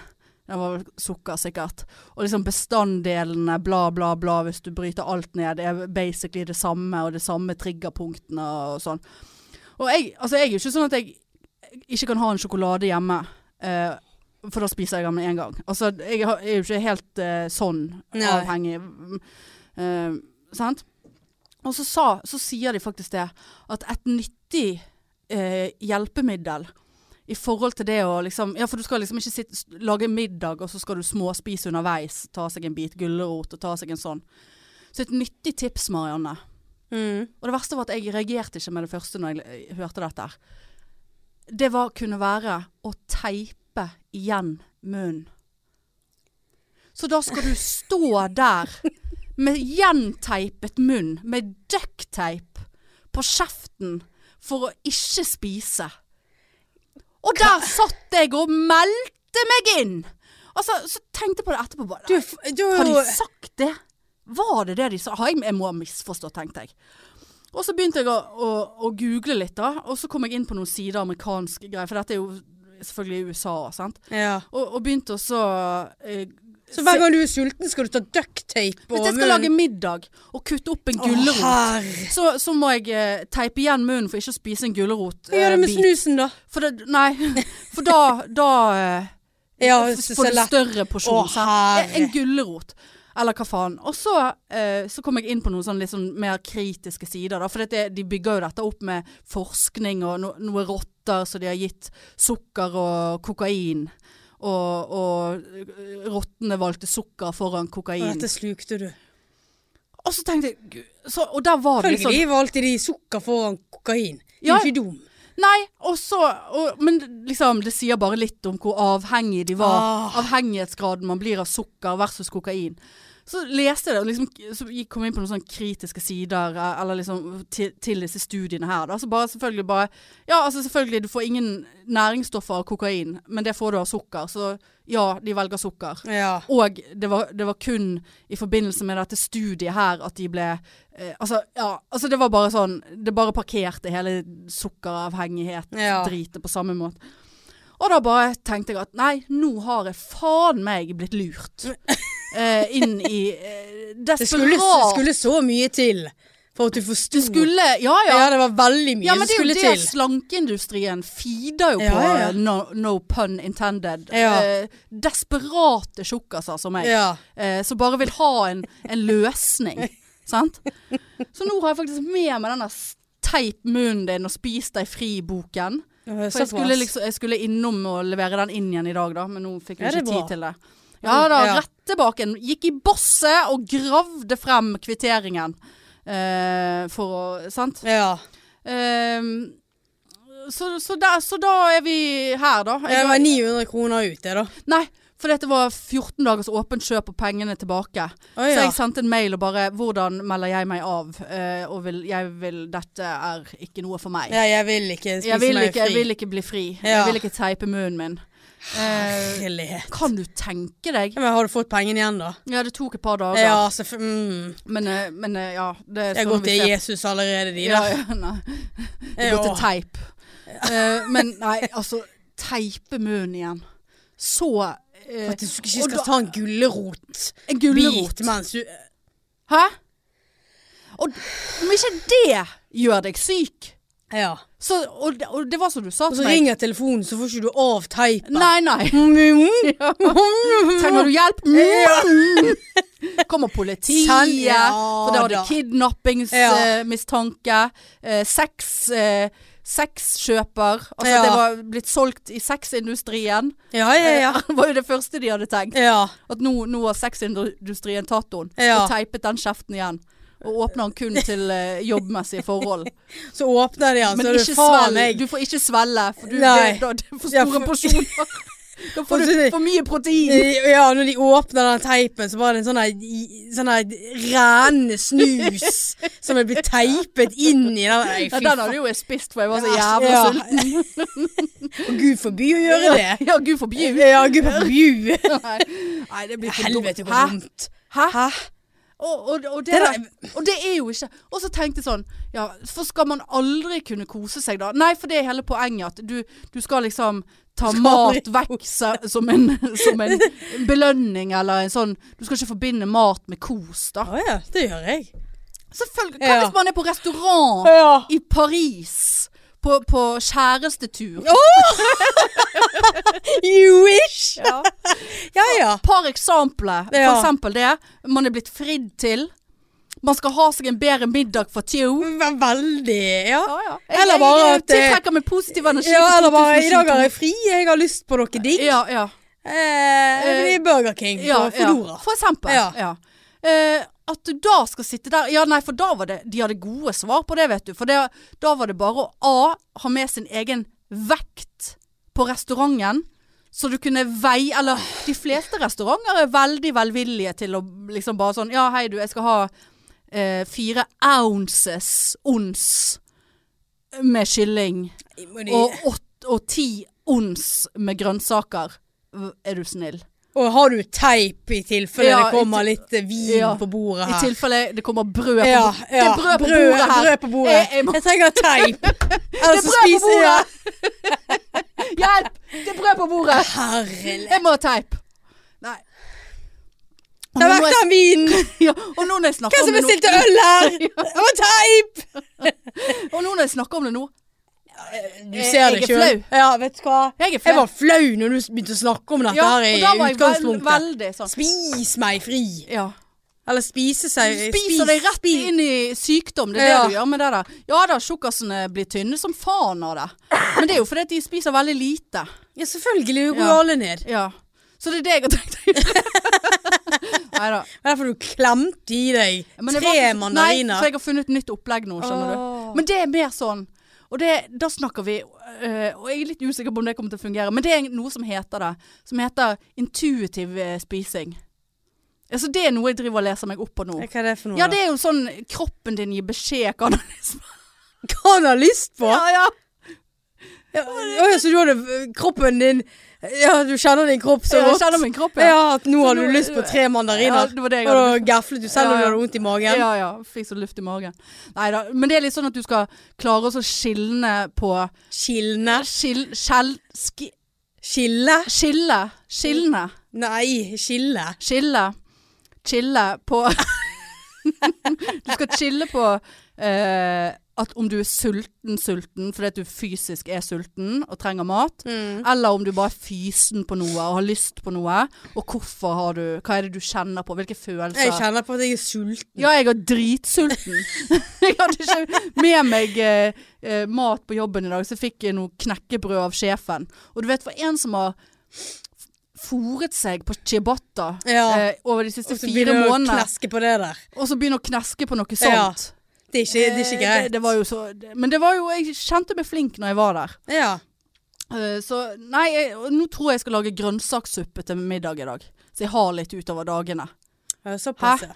Speaker 2: Det var vel sukker, sikkert. Og liksom bestanddelene, bla, bla, bla, hvis du bryter alt ned, er basically det samme, og det samme triggerpunktene og sånn. Og jeg, altså, jeg er jo ikke sånn at jeg ikke kan ha en sjokolade hjemme. eh, for da spiser jeg den med en gang. Altså, jeg har- jeg er jo ikke helt eh, sånn
Speaker 1: Nei.
Speaker 2: avhengig. mm, eh, sant? Og så, sa, så sier de faktisk det, at et nyttig eh, hjelpemiddel i forhold til det å liksom Ja, for du skal liksom ikke sitte, s- lage middag, og så skal du småspise underveis. Ta seg en bit gulrot og ta seg en sånn. Så et nyttig tips, Marianne.
Speaker 1: Mm.
Speaker 2: Og det verste var at jeg reagerte ikke med det første når jeg eh, hørte dette. her. Det var, kunne være å teipe igjen munnen. Så da skal du stå der med gjenteipet munn, med ducktape på kjeften, for å ikke spise. Og der satt jeg og meldte meg inn! Altså, så tenkte jeg på det etterpå.
Speaker 1: Du,
Speaker 2: Bare,
Speaker 1: du,
Speaker 2: har de sagt det? Var det det de sa? Har jeg, jeg må ha misforstått, tenkte jeg. Og så begynte jeg å, å, å google litt, da. Og så kom jeg inn på noen sider amerikanske greier, for dette er jo selvfølgelig USA, sant.
Speaker 1: Ja.
Speaker 2: Og, og begynte også eh,
Speaker 1: Så hver gang du er sulten, skal du ta ducktape og
Speaker 2: Hvis jeg skal lage middag og kutte opp en gulrot,
Speaker 1: herre.
Speaker 2: så, så må jeg eh, teipe igjen munnen for ikke å spise en gulrot.
Speaker 1: Hva gjør
Speaker 2: eh,
Speaker 1: du med
Speaker 2: bit.
Speaker 1: snusen, da?
Speaker 2: For det, nei, for da, da eh,
Speaker 1: Ja,
Speaker 2: får du større porsjon.
Speaker 1: Å,
Speaker 2: sant?
Speaker 1: herre.
Speaker 2: en gulrot. Eller hva faen. Og så, eh, så kom jeg inn på noen sånn litt sånn mer kritiske sider. Da, for dette, de bygger jo dette opp med forskning og no, noe rotter som de har gitt sukker og kokain. Og, og eh, rottene valgte sukker foran
Speaker 1: Og
Speaker 2: kokain.
Speaker 1: dette slukte du.
Speaker 2: Og så tenkte jeg Gud, så, Og der var det litt sånn
Speaker 1: Følgelig valgte de sukker foran kokain. De
Speaker 2: Ja.
Speaker 1: er ikke dum.
Speaker 2: Nei, og så og, Men liksom, det sier bare litt om hvor avhengig de var.
Speaker 1: Ah.
Speaker 2: Avhengighetsgraden man blir av sukker versus kokain. Så leste jeg det, og liksom, så gikk- kom jeg inn på noen sånne kritiske sider eh, eller liksom, til, til disse studiene her. Da. Så bare selvfølgelig bare Ja, altså selvfølgelig, du får ingen næringsstoffer av kokain, men det får du av sukker. Så ja, de velger sukker.
Speaker 1: Ja.
Speaker 2: Og det var, det var kun i forbindelse med dette studiet her at de ble eh, altså, ja, altså det var bare sånn Det bare parkerte hele
Speaker 1: Ja.
Speaker 2: sukkeravhengighet-dritet på samme måte. Og da bare tenkte jeg at nei, nå har jeg faen meg blitt lurt. Eh, inn i eh,
Speaker 1: Det skulle,
Speaker 2: desperat
Speaker 1: skulle så mye til for at du forsto.
Speaker 2: Skulle Ja ja.
Speaker 1: Ja, det var veldig mye
Speaker 2: Ja, men
Speaker 1: som
Speaker 2: det er jo
Speaker 1: skulle
Speaker 2: det
Speaker 1: til.
Speaker 2: slankeindustrien feeder jo
Speaker 1: Ja,
Speaker 2: på.
Speaker 1: ja.
Speaker 2: eh, No, no pun intended.
Speaker 1: Ja.
Speaker 2: Eh, desperate tjukkaser som meg
Speaker 1: Ja.
Speaker 2: eh, som bare vil ha en, en løsning. sant? Så nå har jeg faktisk med meg denne s- teip munnen din og spis deg fri-boken. For jeg skulle, liksom, jeg skulle innom og levere den inn igjen i dag, da, men nå fikk jeg
Speaker 1: Ja, det
Speaker 2: ikke
Speaker 1: er bra.
Speaker 2: tid til det. Ja da,
Speaker 1: Ja.
Speaker 2: rett tilbake. igjen. Gikk i bosset og gravde frem kvitteringen. Eh, for å Sant?
Speaker 1: Ja.
Speaker 2: Ehm, så, så, da- så da er vi her, da.
Speaker 1: Ja, Det var 900 kroner ut, det, da.
Speaker 2: Nei, for dette var 14 dagers åpent kjøp og pengene tilbake.
Speaker 1: Å
Speaker 2: Så
Speaker 1: ja.
Speaker 2: jeg sendte en mail og bare 'Hvordan melder jeg meg av?' Eh, og vil, jeg vil 'Dette er ikke noe for meg'.
Speaker 1: ja. Jeg vil ikke spise
Speaker 2: jeg, vil
Speaker 1: meg
Speaker 2: ikke,
Speaker 1: fri.
Speaker 2: jeg vil ikke bli fri.
Speaker 1: Ja.
Speaker 2: Jeg vil ikke teipe munnen min. Eh,
Speaker 1: Herlighet.
Speaker 2: kan du tenke deg?
Speaker 1: Ja, men har du fått pengene igjen, da?
Speaker 2: Ja, det tok et par dager.
Speaker 1: Ja, selvfølgelig. Mm.
Speaker 2: Men, eh, men eh, ja Det
Speaker 1: Jeg har gått til Jesus allerede, de
Speaker 2: Ja,
Speaker 1: der.
Speaker 2: ja, nei. Det går til teip. Eh, men nei, altså Teipe munnen igjen. Så eh,
Speaker 1: At du ikke
Speaker 2: Og
Speaker 1: skal
Speaker 2: da-
Speaker 1: ta en gulrotbit
Speaker 2: En gulrot.
Speaker 1: mens du
Speaker 2: Hæ? Og om ikke det gjør deg syk
Speaker 1: Ja.
Speaker 2: så, og, det, og det var som du sa
Speaker 1: Og så
Speaker 2: til meg.
Speaker 1: ringer telefonen, så får ikke du av teipen.
Speaker 2: Nei, nei.
Speaker 1: Mm.
Speaker 2: Trenger du hjelp? Kommer politiet,
Speaker 1: Send- ja
Speaker 2: for da var det
Speaker 1: da. Ja.
Speaker 2: kidnappingsmistanke. Sex, eh, sexkjøper. Altså
Speaker 1: Ja.
Speaker 2: det var blitt solgt i sexindustrien.
Speaker 1: Ja, ja, ja.
Speaker 2: Det var jo det første de hadde tenkt.
Speaker 1: Ja.
Speaker 2: At nå, nå har sexindustrien tatt henne
Speaker 1: Ja.
Speaker 2: og teipet den kjeften igjen. Og åpner den kun til eh, jobbmessige forhold.
Speaker 1: Så åpner de den,
Speaker 2: Men
Speaker 1: så er
Speaker 2: ikke
Speaker 1: det faen
Speaker 2: svelg.
Speaker 1: meg
Speaker 2: Du får ikke svelle, for du
Speaker 1: Nei.
Speaker 2: det, da, det er for
Speaker 1: Ja,
Speaker 2: store
Speaker 1: for-
Speaker 2: porsjoner. Da får
Speaker 1: Og så
Speaker 2: du
Speaker 1: det-
Speaker 2: for mye protein.
Speaker 1: Ja, når de åpner den teipen, så var det en sånn her- i- sånn her rennende snus som er blitt teipet inn i den. Nei,
Speaker 2: Ja,
Speaker 1: fy
Speaker 2: den
Speaker 1: faen.
Speaker 2: hadde jo jeg spist, for jeg var så
Speaker 1: Ja,
Speaker 2: jævla
Speaker 1: ja.
Speaker 2: sulten.
Speaker 1: Og Gud forby å gjøre det.
Speaker 2: Ja, gud forby.
Speaker 1: Ja, Gud forby.
Speaker 2: Nei. Nei, det blir for dumt.
Speaker 1: Helvete,
Speaker 2: Hæ?
Speaker 1: hvor dumt.
Speaker 2: Hæ?
Speaker 1: Hæ?
Speaker 2: Og, og, og, det
Speaker 1: Det
Speaker 2: der,
Speaker 1: der-
Speaker 2: og det er jo ikke Og så tenkte jeg sånn Ja, for skal man aldri kunne kose seg da? Nei, for det er hele poenget at du, du skal liksom ta
Speaker 1: Du skal
Speaker 2: mat
Speaker 1: aldri
Speaker 2: vekk se- som en, som en belønning eller en sånn Du skal ikke forbinde mat med kos, da.
Speaker 1: Å ja, det gjør jeg.
Speaker 2: Selvfølgelig. Hva
Speaker 1: Ja.
Speaker 2: hvis man er på restaurant
Speaker 1: Ja.
Speaker 2: i Paris? På, på kjærestetur.
Speaker 1: You wish! Ja ja.
Speaker 2: Par eksempler. For
Speaker 1: Ja.
Speaker 2: eksempel det. Man er blitt fridd til. Man skal ha seg en bedre middag for tjo.
Speaker 1: Ve- Veldig, ja.
Speaker 2: Ja, ja.
Speaker 1: Eller bare
Speaker 2: jeg,
Speaker 1: at, eh,
Speaker 2: tiltrekker meg positiv energi.
Speaker 1: Ja,
Speaker 2: for
Speaker 1: eller bare I dag har
Speaker 2: 2022.
Speaker 1: jeg fri, jeg har lyst på noe digg.
Speaker 2: Ja, ja.
Speaker 1: Eh, det blir Burger King
Speaker 2: ja,
Speaker 1: på Foodora.
Speaker 2: ja. For eksempel. Ja.
Speaker 1: Ja.
Speaker 2: Eh, at du da skal sitte der Ja, nei, for da var det De hadde gode svar på det, vet du. For det, da var det bare å A. Ha med sin egen vekt på restauranten. Så du kunne veie Eller de fleste restauranter er veldig velvillige til å liksom bare sånn Ja, hei du, jeg skal ha eh, fire ounces ons med kylling.
Speaker 1: Må de-
Speaker 2: Og, ått, og ti ons med grønnsaker. V- Er du snill?
Speaker 1: Og har du teip i tilfelle
Speaker 2: Ja,
Speaker 1: det kommer
Speaker 2: i
Speaker 1: litt eh, vin
Speaker 2: Ja,
Speaker 1: på bordet
Speaker 2: I
Speaker 1: her?
Speaker 2: tilfelle det kommer brød på
Speaker 1: Ja,
Speaker 2: bordet. Det
Speaker 1: ja.
Speaker 2: er brød på bordet her.
Speaker 1: Brød på bordet.
Speaker 2: Jeg-
Speaker 1: Jeg,
Speaker 2: jeg må-
Speaker 1: trenger teip.
Speaker 2: Det
Speaker 1: Ellers
Speaker 2: er
Speaker 1: så
Speaker 2: brød på
Speaker 1: spiser
Speaker 2: bordet!
Speaker 1: jeg
Speaker 2: Hjelp! Det er brød på bordet!
Speaker 1: Herlig.
Speaker 2: Jeg må ha teip. Nei. Og
Speaker 1: Det
Speaker 2: nå,
Speaker 1: er
Speaker 2: når
Speaker 1: vekk
Speaker 2: jeg,
Speaker 1: den vinen!
Speaker 2: ja, og nå når jeg snakker
Speaker 1: Hvem
Speaker 2: om
Speaker 1: som
Speaker 2: det nå-
Speaker 1: bestilte øl her? Det var teip!
Speaker 2: Og nå når jeg snakker om det nå
Speaker 1: Du
Speaker 2: Jeg-
Speaker 1: ser
Speaker 2: jeg
Speaker 1: det
Speaker 2: er flau.
Speaker 1: sjøl. Ja, vet du hva.
Speaker 2: Jeg er
Speaker 1: Jeg
Speaker 2: flau.
Speaker 1: var flau når du begynte å snakke om dette her
Speaker 2: og
Speaker 1: i
Speaker 2: da var jeg vel-
Speaker 1: utgangspunktet.
Speaker 2: veldig sånn
Speaker 1: Spis meg fri.
Speaker 2: ja.
Speaker 1: Eller spise seg
Speaker 2: Du spiser deg rett
Speaker 1: spis-
Speaker 2: inn i sykdom. Det er
Speaker 1: Ja.
Speaker 2: det du gjør med det der. Ja da, tjukkasene blir tynne som faen av det. Men det er jo fordi at de spiser veldig lite.
Speaker 1: Ja, selvfølgelig. Du går
Speaker 2: Ja.
Speaker 1: alle ned.
Speaker 2: Ja. Så det er det jeg har tenkt å gjøre. Nei da.
Speaker 1: Det er derfor du klemte i deg
Speaker 2: Men jeg
Speaker 1: tre
Speaker 2: var- Nei, for
Speaker 1: mandariner.
Speaker 2: jeg har funnet et nytt opplegg nå, skjønner
Speaker 1: Åh.
Speaker 2: du. Men det er mer sånn Og det, da snakker vi øh, Og jeg er litt usikker på om det kommer til å fungere, men det er noe som heter det. Som heter intuitiv eh, spising. Altså det er noe jeg driver og leser meg opp på nå.
Speaker 1: Hva er det for noe?
Speaker 2: Ja,
Speaker 1: da?
Speaker 2: det er jo sånn kroppen din gir beskjed hva den smaker.
Speaker 1: Hva han har lyst på?
Speaker 2: Ja, ja.
Speaker 1: Ja, åja, så du hadde kroppen din Ja, du kjenner din kropp så
Speaker 2: Ja, jeg
Speaker 1: godt?
Speaker 2: kjenner min kropp,
Speaker 1: ja.
Speaker 2: ja.
Speaker 1: at nå
Speaker 2: Så
Speaker 1: har du
Speaker 2: nå-
Speaker 1: lyst på tre
Speaker 2: Ja,
Speaker 1: mandariner.
Speaker 2: det var det jeg
Speaker 1: og
Speaker 2: hadde.
Speaker 1: da gaflet du selv om
Speaker 2: Ja,
Speaker 1: du
Speaker 2: ja.
Speaker 1: hadde vondt i magen.
Speaker 2: Ja, ja. Fikk så luft i magen. Nei da. Men det er litt sånn at du skal klare også å skilne på
Speaker 1: Skilne.
Speaker 2: Skil... Skjell... Ski...
Speaker 1: Skille?
Speaker 2: Skille. Skilne.
Speaker 1: Nei, skille.
Speaker 2: Skille. Chille på Du skal chille på eh, at om du er sulten, sulten fordi at du fysisk er sulten og trenger mat,
Speaker 1: Mm.
Speaker 2: eller om du bare er fysen på noe og har lyst på noe, og hvorfor har du Hva er det du kjenner på? Hvilke følelser?
Speaker 1: Jeg kjenner på at jeg er sulten.
Speaker 2: Ja, jeg er dritsulten. jeg hadde ikke med meg eh, eh, mat på jobben i dag, så jeg fikk jeg noe knekkebrød av sjefen. Og du vet, for en som har f- fôret seg på ciabatta
Speaker 1: Ja.
Speaker 2: eh, over de siste
Speaker 1: Og så
Speaker 2: fire
Speaker 1: begynner du å
Speaker 2: månedene,
Speaker 1: kneske på det der.
Speaker 2: og så begynner å kneske på noe
Speaker 1: Ja,
Speaker 2: sånt.
Speaker 1: Det er ikke, det er ikke
Speaker 2: Eh,
Speaker 1: greit.
Speaker 2: Det, det var jo så, det, men det var jo, jeg kjente meg flink når jeg var der.
Speaker 1: ja.
Speaker 2: Eh, Så nei, jeg, og nå tror jeg jeg skal lage grønnsakssuppe til middag i dag. Så jeg har litt utover dagene.
Speaker 1: Ja, Såpass, ja.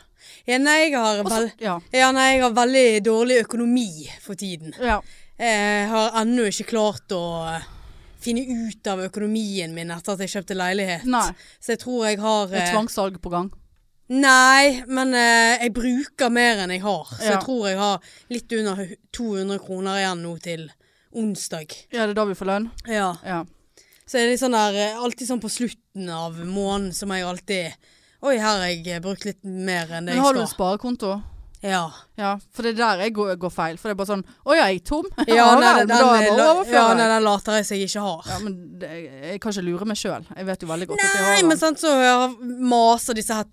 Speaker 1: Ja, nei, jeg har
Speaker 2: Og så-
Speaker 1: vel...
Speaker 2: ja,
Speaker 1: Ja, nei, jeg har veldig dårlig økonomi for tiden.
Speaker 2: ja.
Speaker 1: Jeg har ennå ikke klart å eh, finne ut av økonomien min etter at jeg kjøpte leilighet.
Speaker 2: Nei.
Speaker 1: Så jeg tror jeg har
Speaker 2: Det er
Speaker 1: eh,
Speaker 2: tvangssalg på gang.
Speaker 1: Nei, men eh, jeg bruker mer enn jeg har. Så
Speaker 2: Ja.
Speaker 1: jeg tror jeg har litt under hu- 200 kroner igjen nå til onsdag.
Speaker 2: Ja, det er da vi får lønn.
Speaker 1: Ja.
Speaker 2: Ja.
Speaker 1: Så er det litt sånn der eh, Alltid sånn på slutten av måneden som jeg alltid Oi, her har jeg eh, brukt litt mer enn det
Speaker 2: Men har du
Speaker 1: jeg skal.
Speaker 2: en sparekonto?
Speaker 1: Ja.
Speaker 2: Ja, for det er der jeg går, går feil. For det er bare sånn Å ja, jeg er tom.
Speaker 1: Ja, nei, den,
Speaker 2: vel, men da er jeg
Speaker 1: la-
Speaker 2: bare
Speaker 1: ja,
Speaker 2: overfører.
Speaker 1: nei,
Speaker 2: jeg.
Speaker 1: den later jeg seg ikke har.
Speaker 2: Ja, men det, jeg kan ikke lure meg sjøl. Jeg vet jo veldig godt at jeg har
Speaker 1: Nei,
Speaker 2: den.
Speaker 1: men sant, så jeg maser disse her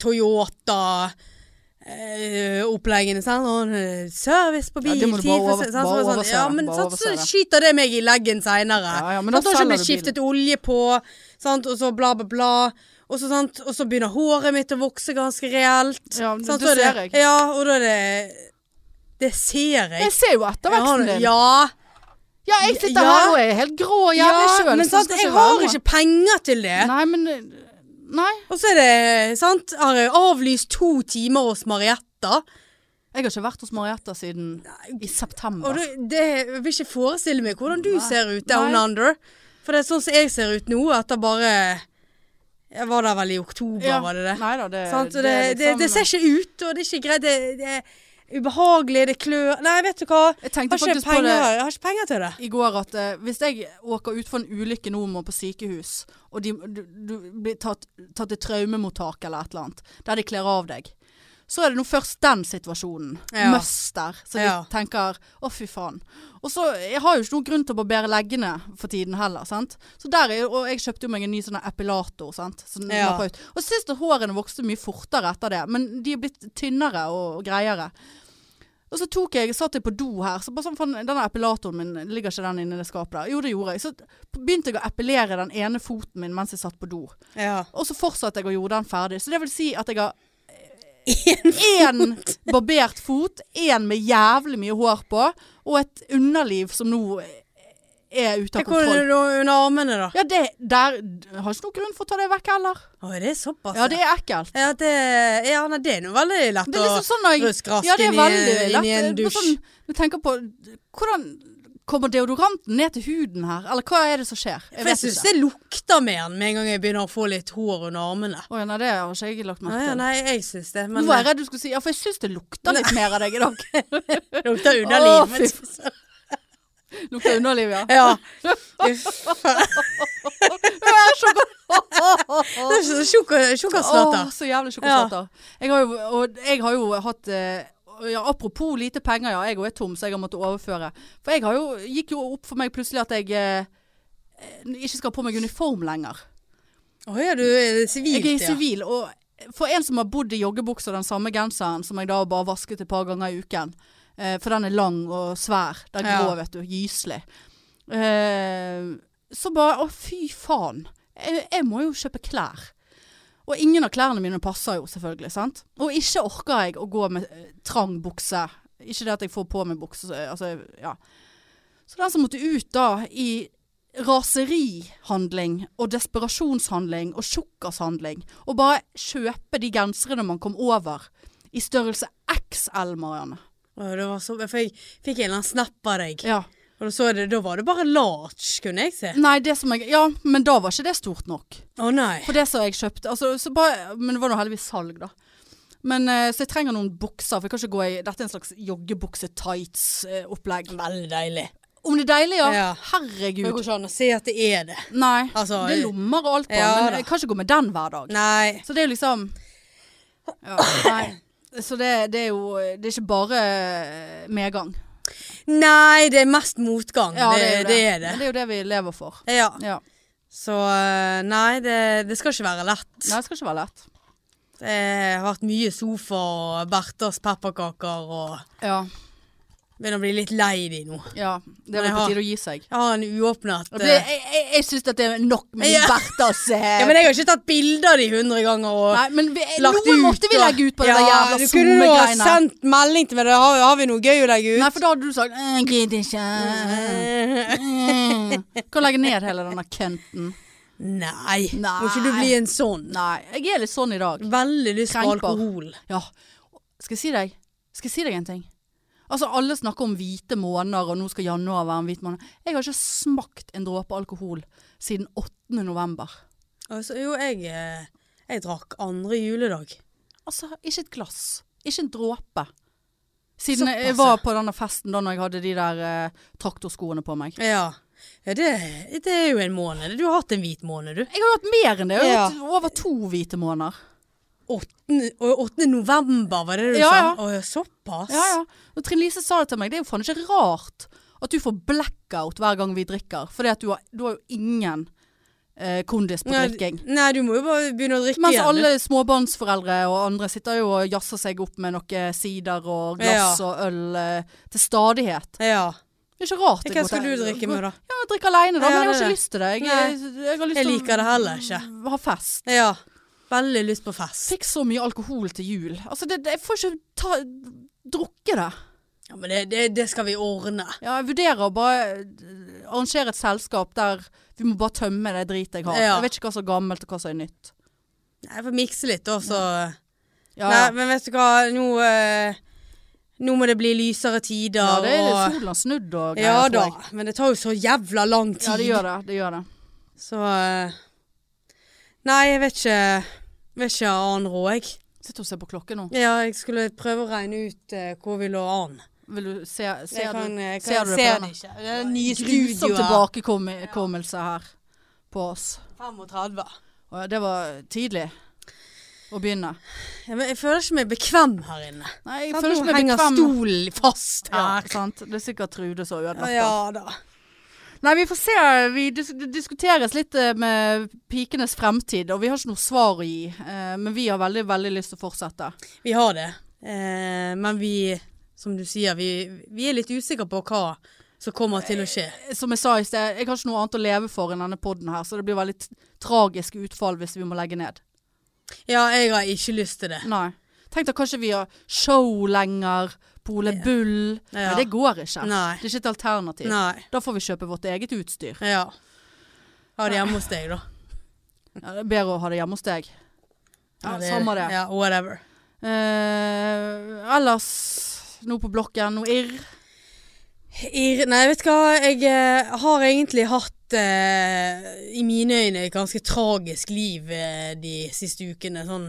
Speaker 1: eh, Toyota-oppleggene. eh, service på
Speaker 2: Ja,
Speaker 1: bil
Speaker 2: det må du
Speaker 1: 10%,
Speaker 2: bare over-
Speaker 1: sant, så
Speaker 2: bare
Speaker 1: er det sånn,
Speaker 2: overse
Speaker 1: Ja,
Speaker 2: det,
Speaker 1: men
Speaker 2: bare
Speaker 1: sant, så
Speaker 2: overse det.
Speaker 1: skyter det meg i leggen seinere.
Speaker 2: Ja, ja, men da
Speaker 1: sant, og så har
Speaker 2: selger
Speaker 1: det blitt
Speaker 2: du
Speaker 1: skiftet olje på, sant, og så bla, bla, bla. Og så, sant, og så begynner håret mitt å vokse ganske reelt.
Speaker 2: Ja, men
Speaker 1: sant,
Speaker 2: det
Speaker 1: sånn- så er
Speaker 2: ser jeg.
Speaker 1: Ja, og da er det Det ser jeg.
Speaker 2: Jeg ser jo etterveksten din.
Speaker 1: Jeg har- Ja.
Speaker 2: Ja, jeg sitter
Speaker 1: Ja.
Speaker 2: her og er helt grå og jævlig
Speaker 1: ja,
Speaker 2: sjøl.
Speaker 1: men sant, jeg har ikke penger til det.
Speaker 2: Nei, men eh, Nei.
Speaker 1: Og så er det, sant, har jeg avlyst to timer hos Marietta.
Speaker 2: Jeg har ikke vært hos Marietta siden i
Speaker 1: Og
Speaker 2: september.
Speaker 1: det, det, jeg vil ikke forestille meg hvordan du
Speaker 2: Nei.
Speaker 1: ser ut down
Speaker 2: Nei.
Speaker 1: under. For det er sånn som jeg ser ut nå, etter bare Jeg var der vel i oktober,
Speaker 2: Ja.
Speaker 1: var det det?
Speaker 2: Nei da, det,
Speaker 1: sant? Og
Speaker 2: det
Speaker 1: det,
Speaker 2: er
Speaker 1: det,
Speaker 2: liksom-
Speaker 1: det ser ikke ut, og det er ikke greit. Det, det er ubehagelig, det klør Nei, vet du hva. Jeg
Speaker 2: Jeg tenkte
Speaker 1: har ikke,
Speaker 2: faktisk på
Speaker 1: penger,
Speaker 2: det
Speaker 1: jeg har ikke penger til det.
Speaker 2: i går at eh, hvis jeg åker ut for en ulykke nå må på sykehus, og de, du, du blir tatt, tatt til traumemottak eller et eller annet, der de kler av deg, så er det nå først den situasjonen.
Speaker 1: Ja.
Speaker 2: Møster. Så de
Speaker 1: Ja.
Speaker 2: tenker å fy faen. Og så jeg har jo ikke noen grunn til å barbere leggene for tiden heller, sant. Så der er jo, og jeg kjøpte jo meg en ny sånn epilator, sant. Sånn Som
Speaker 1: Ja.
Speaker 2: napper ut. Og sist hårene vokste mye fortere etter det, men de er blitt tynnere og greiere. Og så tok jeg, satt jeg på do her, så bare sånn, faen, denne epilatoren min, ligger ikke den inni det skapet der? Jo, det gjorde jeg. Så t- begynte jeg å epilere den ene foten min mens jeg satt på do.
Speaker 1: Ja.
Speaker 2: Og så fortsatte jeg å gjøre den ferdig. Så det vil si at jeg har én barbert fot, én med jævlig mye hår på, og et underliv som nå er ute av
Speaker 1: Hvor er
Speaker 2: kontroll.
Speaker 1: det under armene, da?
Speaker 2: Ja, det der jeg har ikke noen grunn for å ta det vekk heller.
Speaker 1: Å, det er såpass?
Speaker 2: Ja, det er ekkelt.
Speaker 1: ja, det, ja, nei, det er nå veldig lett
Speaker 2: Det er liksom sånn når jeg
Speaker 1: Rusk rask
Speaker 2: Ja, det er
Speaker 1: inn i-
Speaker 2: veldig
Speaker 1: inn i
Speaker 2: lett.
Speaker 1: en
Speaker 2: Bare
Speaker 1: dusj.
Speaker 2: Sånn, jeg tenker på hvordan Kommer deodoranten ned til huden her, eller hva er det som skjer?
Speaker 1: For jeg syns det lukter mer enn med en gang jeg begynner å få litt hår under armene.
Speaker 2: Å ja, nei, det har ikke jeg lagt merke
Speaker 1: Nei,
Speaker 2: til.
Speaker 1: nei jeg syns det.
Speaker 2: Nå
Speaker 1: Men
Speaker 2: var jeg
Speaker 1: det
Speaker 2: redd du skulle si Ja, for jeg syns det lukter litt mer av deg i dag.
Speaker 1: lukter
Speaker 2: Å,
Speaker 1: underlivet.
Speaker 2: Lukter underliv, ja.
Speaker 1: Ja. Uff. Det er så sjoka-
Speaker 2: Åh,
Speaker 1: sjokasnatter.
Speaker 2: så jævlig sjokosnatter. Jeg har jo, og jeg har jo hatt eh, ja, Apropos lite penger, ja. Jeg òg er tom, så jeg har måttet overføre. For jeg har jo, gikk jo opp for meg plutselig at jeg eh, ikke skal ha på meg uniform lenger.
Speaker 1: Å ja, du er sivilt,
Speaker 2: Jeg er i
Speaker 1: ja.
Speaker 2: sivil, og for en som har bodd i joggebukse og den samme genseren, som jeg da bare vasket et par ganger i uken, eh, for den er lang og svær, den er
Speaker 1: Ja.
Speaker 2: grå, vet du, gyselig. Eh, så bare, å fy faen, jeg, jeg må jo kjøpe klær. Og ingen av klærne mine passer jo selvfølgelig, sant? Og ikke orker jeg å gå med eh, trang bukse. Ikke det at jeg får på meg bukse, så- altså, ja. Så den som måtte ut da i raserihandling og desperasjonshandling og tjukkashandling, og bare kjøpe de genserne man kom over i størrelse XL, Marianne.
Speaker 1: Å, Det var så, for jeg fikk en eller annen snap av deg,
Speaker 2: Ja.
Speaker 1: og så det, da var det bare large, kunne jeg se.
Speaker 2: Nei, det som jeg, ja, men da var ikke det stort nok.
Speaker 1: Å nei.
Speaker 2: For det som jeg kjøpte altså, så bare, Men det var nå heldigvis salg, da. Men, eh, så jeg trenger noen bukser, for jeg kan ikke gå i Dette er en slags joggebukse-tights-opplegg.
Speaker 1: Veldig deilig.
Speaker 2: Om det er deilig, ja.
Speaker 1: Ja. Det går
Speaker 2: Herregud.
Speaker 1: ikke an å si at det er det.
Speaker 2: Nei.
Speaker 1: Altså,
Speaker 2: det er lommer og alt på,
Speaker 1: ja
Speaker 2: men
Speaker 1: da.
Speaker 2: jeg kan ikke gå med den hver dag.
Speaker 1: Nei.
Speaker 2: Så det er jo liksom ja, Nei. Så det, det er jo Det er ikke bare eh, medgang.
Speaker 1: Nei, det er mest motgang.
Speaker 2: Ja,
Speaker 1: det, det er
Speaker 2: Men
Speaker 1: det.
Speaker 2: det er jo det vi lever for.
Speaker 1: Ja.
Speaker 2: Ja.
Speaker 1: Så eh, nei, det, det skal ikke være lett.
Speaker 2: Nei, det skal ikke være lett.
Speaker 1: Det har vært mye sofa og Berthas pepperkaker og
Speaker 2: Ja.
Speaker 1: Begynner å bli litt lei de nå.
Speaker 2: ja. Det
Speaker 1: Men jeg
Speaker 2: er vel på
Speaker 1: har-
Speaker 2: tide å gi seg.
Speaker 1: Jeg har en uåpnet
Speaker 2: Og Det,
Speaker 1: eh,
Speaker 2: jeg jeg, jeg syns at det er nok med
Speaker 1: Ja.
Speaker 2: Berthas eh,
Speaker 1: Ja, men jeg har ikke tatt bilder av de hundre ganger og
Speaker 2: Nei, men vi,
Speaker 1: lagt
Speaker 2: noe
Speaker 1: ut.
Speaker 2: måtte vi
Speaker 1: og-
Speaker 2: legge ut på dette jævla
Speaker 1: du kunne jo ha
Speaker 2: SoMe-greiene.
Speaker 1: sendt melding til meg. Da har, har vi noe gøy å legge ut?
Speaker 2: Nei, for da hadde du sagt «Øh, 'Gidder ikke'.
Speaker 1: Eh,
Speaker 2: Mm. Kan legge ned hele denne kønten.
Speaker 1: Nei.
Speaker 2: Nei.
Speaker 1: Må ikke du bli en sånn?
Speaker 2: Nei, jeg er litt sånn i dag.
Speaker 1: Veldig lyst på
Speaker 2: Krenkbar.
Speaker 1: alkohol.
Speaker 2: Ja. Skal jeg si deg Skal jeg si deg en ting? Altså, alle snakker om hvite måneder, og nå skal januar være en hvit måned. Jeg har ikke smakt en dråpe alkohol siden 8. november.
Speaker 1: Altså, jo, jeg, eh, jeg drakk andre juledag.
Speaker 2: Altså, ikke et glass. Ikke en dråpe. Siden
Speaker 1: Såpass,
Speaker 2: jeg var på denne festen da når jeg hadde de der eh, traktorskoene på meg.
Speaker 1: Ja. ja det, det er jo en måned. Du har hatt en hvit måned, du.
Speaker 2: Jeg har jo hatt mer enn det. Jeg
Speaker 1: Ja.
Speaker 2: har hatt over to hvite måneder.
Speaker 1: 8. og 8. november, var det det du
Speaker 2: Ja,
Speaker 1: sa?
Speaker 2: ja.
Speaker 1: Å, såpass?
Speaker 2: Ja, ja. Og Trine Lise sa det til meg. Det er jo faen ikke rart at du får blackout hver gang vi drikker. Fordi at du har, du har jo ingen eh, kondis på
Speaker 1: Nei,
Speaker 2: drikking.
Speaker 1: Nei, du må jo bare begynne å drikke
Speaker 2: Mens
Speaker 1: igjen. du.
Speaker 2: alle småbarnsforeldre og andre sitter jo og jazzer seg opp med noe sider og glass og øl eh, til stadighet.
Speaker 1: Ja.
Speaker 2: Det er ikke rart.
Speaker 1: Hva skal du drikke med, da?
Speaker 2: Ja, jeg drikker alene
Speaker 1: Ja,
Speaker 2: da, men
Speaker 1: det
Speaker 2: jeg har
Speaker 1: er
Speaker 2: ikke
Speaker 1: det.
Speaker 2: lyst til det. Jeg, jeg, jeg har lyst
Speaker 1: Jeg
Speaker 2: til
Speaker 1: liker det heller ikke.
Speaker 2: å ha fest.
Speaker 1: Ja. Veldig lyst på fest.
Speaker 2: Fikk så mye alkohol til jul. Altså, det, det, jeg får ikke ta, drukke det.
Speaker 1: Ja, men det, det, det skal vi ordne.
Speaker 2: Ja, jeg vurderer å bare eh, arrangere et selskap der vi må bare tømme det dritet jeg har.
Speaker 1: Ja.
Speaker 2: Jeg vet ikke hva som er gammelt og hva som er nytt.
Speaker 1: Nei, Jeg får mikse litt, da, så
Speaker 2: Ja,
Speaker 1: Nei,
Speaker 2: ja.
Speaker 1: men vet du hva, nå eh, Nå må det bli lysere tider
Speaker 2: ja det er
Speaker 1: og
Speaker 2: solen har snudd og
Speaker 1: Ja
Speaker 2: greier. tror
Speaker 1: da,
Speaker 2: jeg.
Speaker 1: men det tar jo så jævla lang tid.
Speaker 2: Ja, det gjør det. det, gjør det.
Speaker 1: Så eh, Nei, jeg vet ikke Vet ikke annen råd, jeg.
Speaker 2: Sitter og ser på klokken nå.
Speaker 1: Ja, jeg skulle prøve å regne ut eh, hvor vi lå an.
Speaker 2: Vil du se, ser
Speaker 1: Jeg kan, eh,
Speaker 2: du,
Speaker 1: jeg kan,
Speaker 2: ser du
Speaker 1: ser
Speaker 2: det
Speaker 1: det
Speaker 2: på denne?
Speaker 1: ikke. Det er nye
Speaker 2: Grusom
Speaker 1: studioer.
Speaker 2: tilbakekommelse her på oss.
Speaker 1: 35.
Speaker 2: Og ja, det var tidlig å begynne.
Speaker 1: Ja, men jeg føler ikke meg bekvem her inne.
Speaker 2: Nei, jeg
Speaker 1: Sant,
Speaker 2: føler
Speaker 1: Sånn, nå
Speaker 2: ikke meg
Speaker 1: henger
Speaker 2: bekvem.
Speaker 1: stolen fast
Speaker 2: Ja,
Speaker 1: her.
Speaker 2: sant? Det er sikkert Trude som har ødelagt
Speaker 1: Ja,
Speaker 2: det.
Speaker 1: ja da.
Speaker 2: Nei, vi får se. Vi dis det diskuteres litt eh, med pikenes fremtid, og vi har ikke noe svar å gi. eh, Men vi har veldig, veldig lyst til å fortsette.
Speaker 1: Vi har det. Eh, men vi, som du sier, vi, vi er litt usikre på hva som kommer til å skje.
Speaker 2: Som jeg sa i sted, jeg har ikke noe annet å leve for enn denne poden her, så det blir veldig t- tragisk utfall hvis vi må legge ned.
Speaker 1: Ja, jeg har ikke lyst til det.
Speaker 2: Nei. Tenk deg kanskje vi har show lenger, Pole Bull
Speaker 1: Ja.
Speaker 2: Nei, det går ikke.
Speaker 1: Nei.
Speaker 2: Det er ikke et alternativ.
Speaker 1: Nei.
Speaker 2: Da får vi kjøpe vårt eget utstyr.
Speaker 1: Ja. Ha det hjemme hos deg, da.
Speaker 2: Ja, det er bedre å ha det hjemme hos deg. Ja,
Speaker 1: Eller-
Speaker 2: Samme det.
Speaker 1: Ja, whatever.
Speaker 2: Eh, ellers, nå på blokken, noe irr.
Speaker 1: Ir Nei, vet du hva. Jeg eh, har egentlig hatt eh, i mine øyne et ganske tragisk liv eh, de siste ukene. Sånn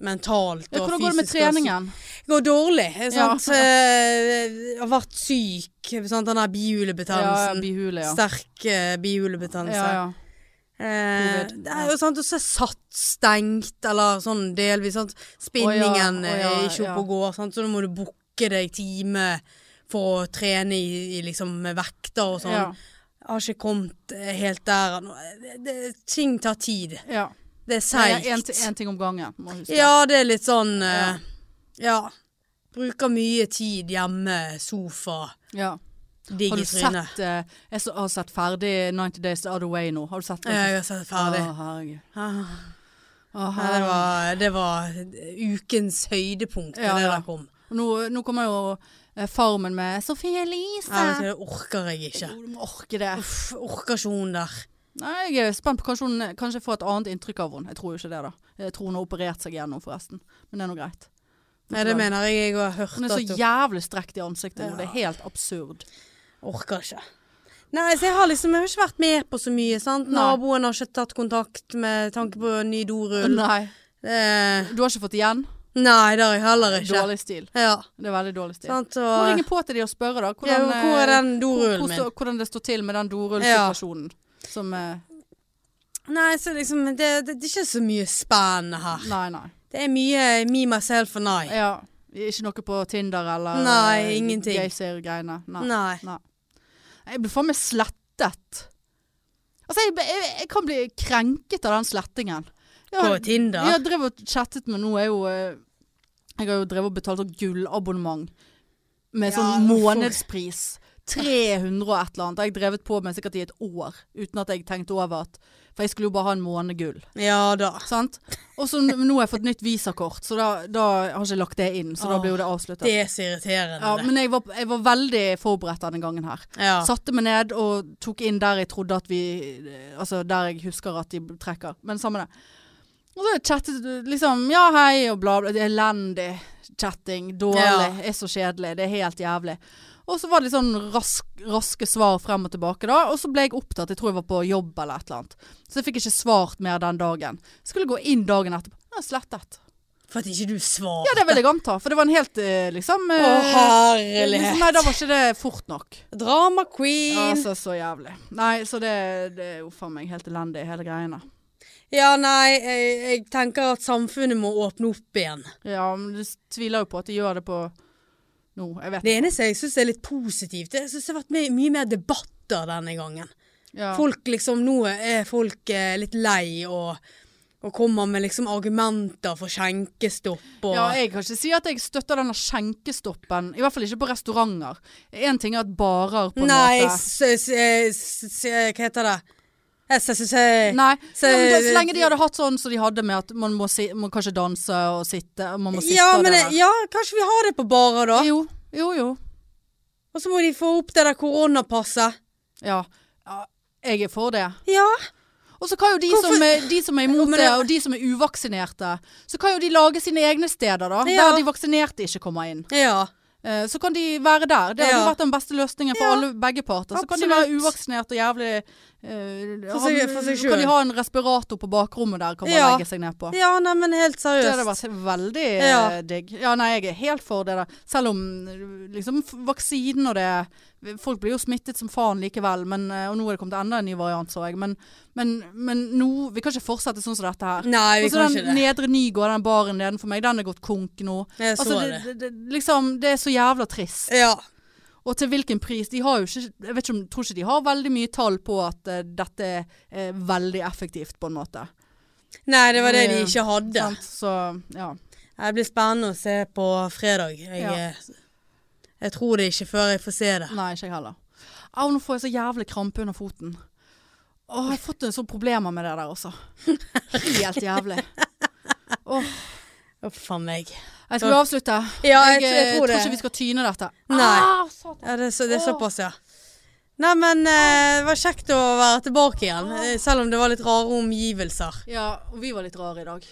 Speaker 1: mentalt og fysisk.
Speaker 2: Ja, hvordan går det med
Speaker 1: og
Speaker 2: treningen?
Speaker 1: psy- Det går dårlig. eh,
Speaker 2: Ja.
Speaker 1: Sant? Eh, jeg har vært syk. eh, Sant? Den der
Speaker 2: Ja,
Speaker 1: bihulebetennelsen.
Speaker 2: bihule, ja.
Speaker 1: Sterk eh,
Speaker 2: Ja,
Speaker 1: bihulebetennelse.
Speaker 2: ja.
Speaker 1: Eh,
Speaker 2: Covid,
Speaker 1: det er jo sant, og så er satt stengt, eller sånn delvis. Sant? Spinningen
Speaker 2: Å ja,
Speaker 1: eh,
Speaker 2: å
Speaker 1: er
Speaker 2: ja,
Speaker 1: ikke oppe
Speaker 2: ja.
Speaker 1: og går, sant? så da må du booke deg time for å trene i, i liksom med vekter og sånn.
Speaker 2: Ja,
Speaker 1: Jeg har ikke kommet eh, helt der ennå. Det- det- Ting tar tid.
Speaker 2: ja.
Speaker 1: Det er
Speaker 2: En,
Speaker 1: seigt.
Speaker 2: en ting om gangen, må huske.
Speaker 1: Ja, det er litt sånn eh, Ja. Bruker mye tid hjemme, sofa,
Speaker 2: Ja.
Speaker 1: digg
Speaker 2: Har
Speaker 1: i
Speaker 2: du
Speaker 1: trynet.
Speaker 2: sett eh, Jeg så, har sett ferdig 90 Days The Other Way nå. Har du sett
Speaker 1: Ja, Jeg har sett det ferdig.
Speaker 2: Å, herregud.
Speaker 1: Ah. Ja,
Speaker 2: Å,
Speaker 1: det,
Speaker 2: herregud.
Speaker 1: var, det var ukens høydepunkt da
Speaker 2: Ja,
Speaker 1: det
Speaker 2: ja.
Speaker 1: der kom.
Speaker 2: Nå, nå kommer jo eh, Farmen med Sophie Elise.
Speaker 1: Ja, vet du, det orker jeg ikke.
Speaker 2: Jo, du må orke det.
Speaker 1: Uff, orker ikke hun der.
Speaker 2: Nei, jeg er spent på kanskje hun kanskje jeg får et annet inntrykk av henne. Jeg tror jo ikke det, da. Jeg tror hun har operert seg igjen nå, forresten. Men det er nå greit.
Speaker 1: Nei, det mener jeg jeg har hørt
Speaker 2: Hun er
Speaker 1: at
Speaker 2: så
Speaker 1: hun
Speaker 2: jævlig strekt i ansiktet
Speaker 1: Ja.
Speaker 2: nå. Det er helt absurd.
Speaker 1: orker ikke. Nei, så jeg har liksom jeg har ikke vært med på så mye, sant.
Speaker 2: Nei.
Speaker 1: Naboen har ikke tatt kontakt med tanke på ny dorull.
Speaker 2: Nei.
Speaker 1: Eh,
Speaker 2: Du har ikke fått igjen?
Speaker 1: nei, det har jeg heller ikke.
Speaker 2: Dårlig stil.
Speaker 1: Ja,
Speaker 2: Det er veldig dårlig stil.
Speaker 1: sant,
Speaker 2: Må
Speaker 1: og
Speaker 2: ringe på til de og spørre, da.
Speaker 1: ja,
Speaker 2: Hvordan,
Speaker 1: Hvor er
Speaker 2: eh,
Speaker 1: den dorullen
Speaker 2: hvor-
Speaker 1: min?
Speaker 2: hvor- hvordan det står til med den dorullsituasjonen. Som eh,
Speaker 1: Nei, så liksom det, det, det er ikke så mye spennende her.
Speaker 2: Nei, nei.
Speaker 1: Det er mye me, myself and I.
Speaker 2: Ja. Ikke noe på Tinder eller
Speaker 1: Nei,
Speaker 2: eh,
Speaker 1: ingenting.
Speaker 2: Geysir-greiene. Nei.
Speaker 1: Nei.
Speaker 2: Jeg blir faen meg slettet. Altså, jeg, jeg, jeg kan bli krenket av den slettingen. Jeg
Speaker 1: På
Speaker 2: har, jeg
Speaker 1: Tinder?
Speaker 2: har drevet og chattet med noe. Jeg, er jo, eh, jeg har jo drevet og betalt sånn gullabonnement med
Speaker 1: Ja,
Speaker 2: sånn
Speaker 1: hvorfor?
Speaker 2: månedspris. 300 og et eller annet. Det har Jeg drevet på med sikkert i et år uten at jeg tenkte over at For jeg skulle jo bare ha en måned gull.
Speaker 1: Ja da.
Speaker 2: Sant? Og så n- nå har jeg fått nytt visakort, så da, da har jeg ikke lagt det inn. Så da
Speaker 1: Åh,
Speaker 2: blir jo det avsluttet.
Speaker 1: Det er så irriterende.
Speaker 2: ja, men jeg var, jeg var veldig forberedt denne gangen her.
Speaker 1: Ja.
Speaker 2: Satte meg ned og tok inn der jeg trodde at vi Altså der jeg husker at de trekker. Men samme det. Og så chattet du liksom Ja, hei og bla, bla. Det er Elendig chatting. Dårlig.
Speaker 1: Ja.
Speaker 2: Er så kjedelig. Det er helt jævlig. Og så var det sånn rask, raske svar frem og tilbake, da. Og så ble jeg opptatt. Jeg tror jeg var på jobb eller et eller annet. Så jeg fikk ikke svart mer den dagen. Skulle gå inn dagen etterpå. Ja, slettet.
Speaker 1: For at ikke du svarer.
Speaker 2: Ja, det vil jeg anta. For det var en helt eh, liksom
Speaker 1: Å,
Speaker 2: eh, liksom,
Speaker 1: herlighet.
Speaker 2: Nei, da var ikke det fort nok.
Speaker 1: Drama
Speaker 2: sånn- Ja,
Speaker 1: queen.
Speaker 2: Altså, så jævlig. Nei, så det, det er jo faen meg helt elendig, hele greiene.
Speaker 1: Ja, nei, jeg, jeg tenker at samfunnet må åpne opp igjen.
Speaker 2: Ja, men du tviler jo på at de gjør det på nå. Jeg vet
Speaker 1: Det eneste jeg syns er litt positivt, det- jeg synes det har vært my- mye mer debatter denne gangen.
Speaker 2: Ja.
Speaker 1: Folk liksom, Nå er folk eh, litt lei og, og kommer med liksom argumenter for skjenkestopp og
Speaker 2: ja, jeg kan ikke si at jeg støtter denne skjenkestoppen. I hvert fall ikke på restauranter. Én ting er at barer på en
Speaker 1: Nei,
Speaker 2: måte
Speaker 1: s s s s hva heter det? S s s s
Speaker 2: Nei,
Speaker 1: så-
Speaker 2: ja, men da, så lenge de hadde hatt sånn som de hadde med at man må, si, man kan ikke danse og sitte Man må sitte
Speaker 1: ja,
Speaker 2: og
Speaker 1: men,
Speaker 2: det
Speaker 1: det- ja, kanskje vi har det på barer, da?
Speaker 2: der. Jo, jo, jo.
Speaker 1: Og så må de få opp det der koronapasset.
Speaker 2: Ja. ja. Jeg er for det.
Speaker 1: Ja.
Speaker 2: Og så kan jo de
Speaker 1: Hvorfor-
Speaker 2: som, er, de som er
Speaker 1: Jo,
Speaker 2: imot
Speaker 1: men
Speaker 2: det,
Speaker 1: det-
Speaker 2: og de som er uvaksinerte, så kan jo de lage sine egne steder, da.
Speaker 1: Ja.
Speaker 2: Der de vaksinerte ikke kommer inn.
Speaker 1: Ja.
Speaker 2: Eh, Så kan de være der. Det hadde
Speaker 1: Ja.
Speaker 2: vært den beste løsningen for
Speaker 1: Ja.
Speaker 2: alle, begge parter. Så kan de
Speaker 1: Absolutt.
Speaker 2: være uvaksinerte og jævlig eh,
Speaker 1: For seg-
Speaker 2: ha-
Speaker 1: for seg
Speaker 2: så
Speaker 1: selv.
Speaker 2: Kan de ha en respirator på bakrommet der, kan man
Speaker 1: Ja.
Speaker 2: legge seg ned på.
Speaker 1: Ja, nei, men helt
Speaker 2: Det
Speaker 1: seriøst.
Speaker 2: hadde vært veldig eh,
Speaker 1: Ja.
Speaker 2: digg. Ja, nei, jeg er helt for det der. Selv om eh, liksom f- vaksinen og det Folk blir jo smittet som faen likevel, men, eh, og nå er det kommet enda en ny variant, så jeg. Men, men, men nå Vi kan ikke fortsette sånn som dette her.
Speaker 1: Nei, vi
Speaker 2: Og så
Speaker 1: kan ikke
Speaker 2: den
Speaker 1: det.
Speaker 2: Nedre Nygård, den baren nedenfor meg, den er gått konk nå.
Speaker 1: Jeg så
Speaker 2: Altså,
Speaker 1: det.
Speaker 2: det, det, liksom, det er så jævla trist.
Speaker 1: Ja.
Speaker 2: Og til hvilken pris? De har jo ikke Jeg vet ikke om, tror ikke de har veldig mye tall på at eh, dette er veldig effektivt, på en måte.
Speaker 1: Nei, det var det de
Speaker 2: Ja.
Speaker 1: ikke hadde.
Speaker 2: Sant? Så ja.
Speaker 1: Det blir spennende å se på fredag. Jeg, eh,
Speaker 2: Ja.
Speaker 1: jeg tror det ikke før jeg får se det.
Speaker 2: Nei, ikke jeg heller. Au, nå får jeg så jævlig krampe under foten. Å, jeg har fått en sånn problemer med det der også. Helt jævlig. Åh,
Speaker 1: Å, faen meg.
Speaker 2: jeg skal jo avslutte.
Speaker 1: Ja, jeg,
Speaker 2: eh,
Speaker 1: jeg tror det.
Speaker 2: ikke vi skal tyne dette.
Speaker 1: Nei.
Speaker 2: Ah, satan.
Speaker 1: Ja, det, er så, det er
Speaker 2: Åh.
Speaker 1: såpass, ja. Nei, men eh, det var kjekt
Speaker 2: Ah.
Speaker 1: å være tilbake igjen. eh, Selv om det var litt rare omgivelser.
Speaker 2: Ja, og vi var litt rare i dag.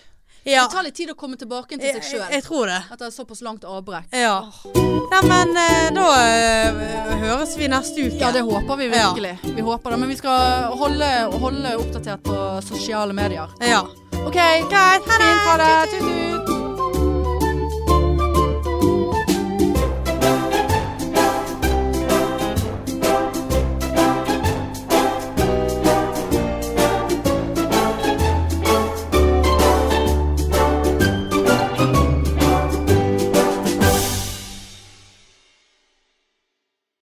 Speaker 1: Ja,
Speaker 2: Det tar litt tid å komme tilbake til
Speaker 1: jeg,
Speaker 2: seg
Speaker 1: jeg, jeg
Speaker 2: sjøl.
Speaker 1: tror det.
Speaker 2: Etter såpass langt avbrekk.
Speaker 1: Ja.
Speaker 2: Åh.
Speaker 1: Neimen, eh, da eh, høres vi neste uke.
Speaker 2: Ja, det håper vi virkelig. Vi håper det, Men vi skal holde, holde oppdatert på sosiale medier.
Speaker 1: Ja.
Speaker 2: OK. Fint. Ha det. Tut-tut.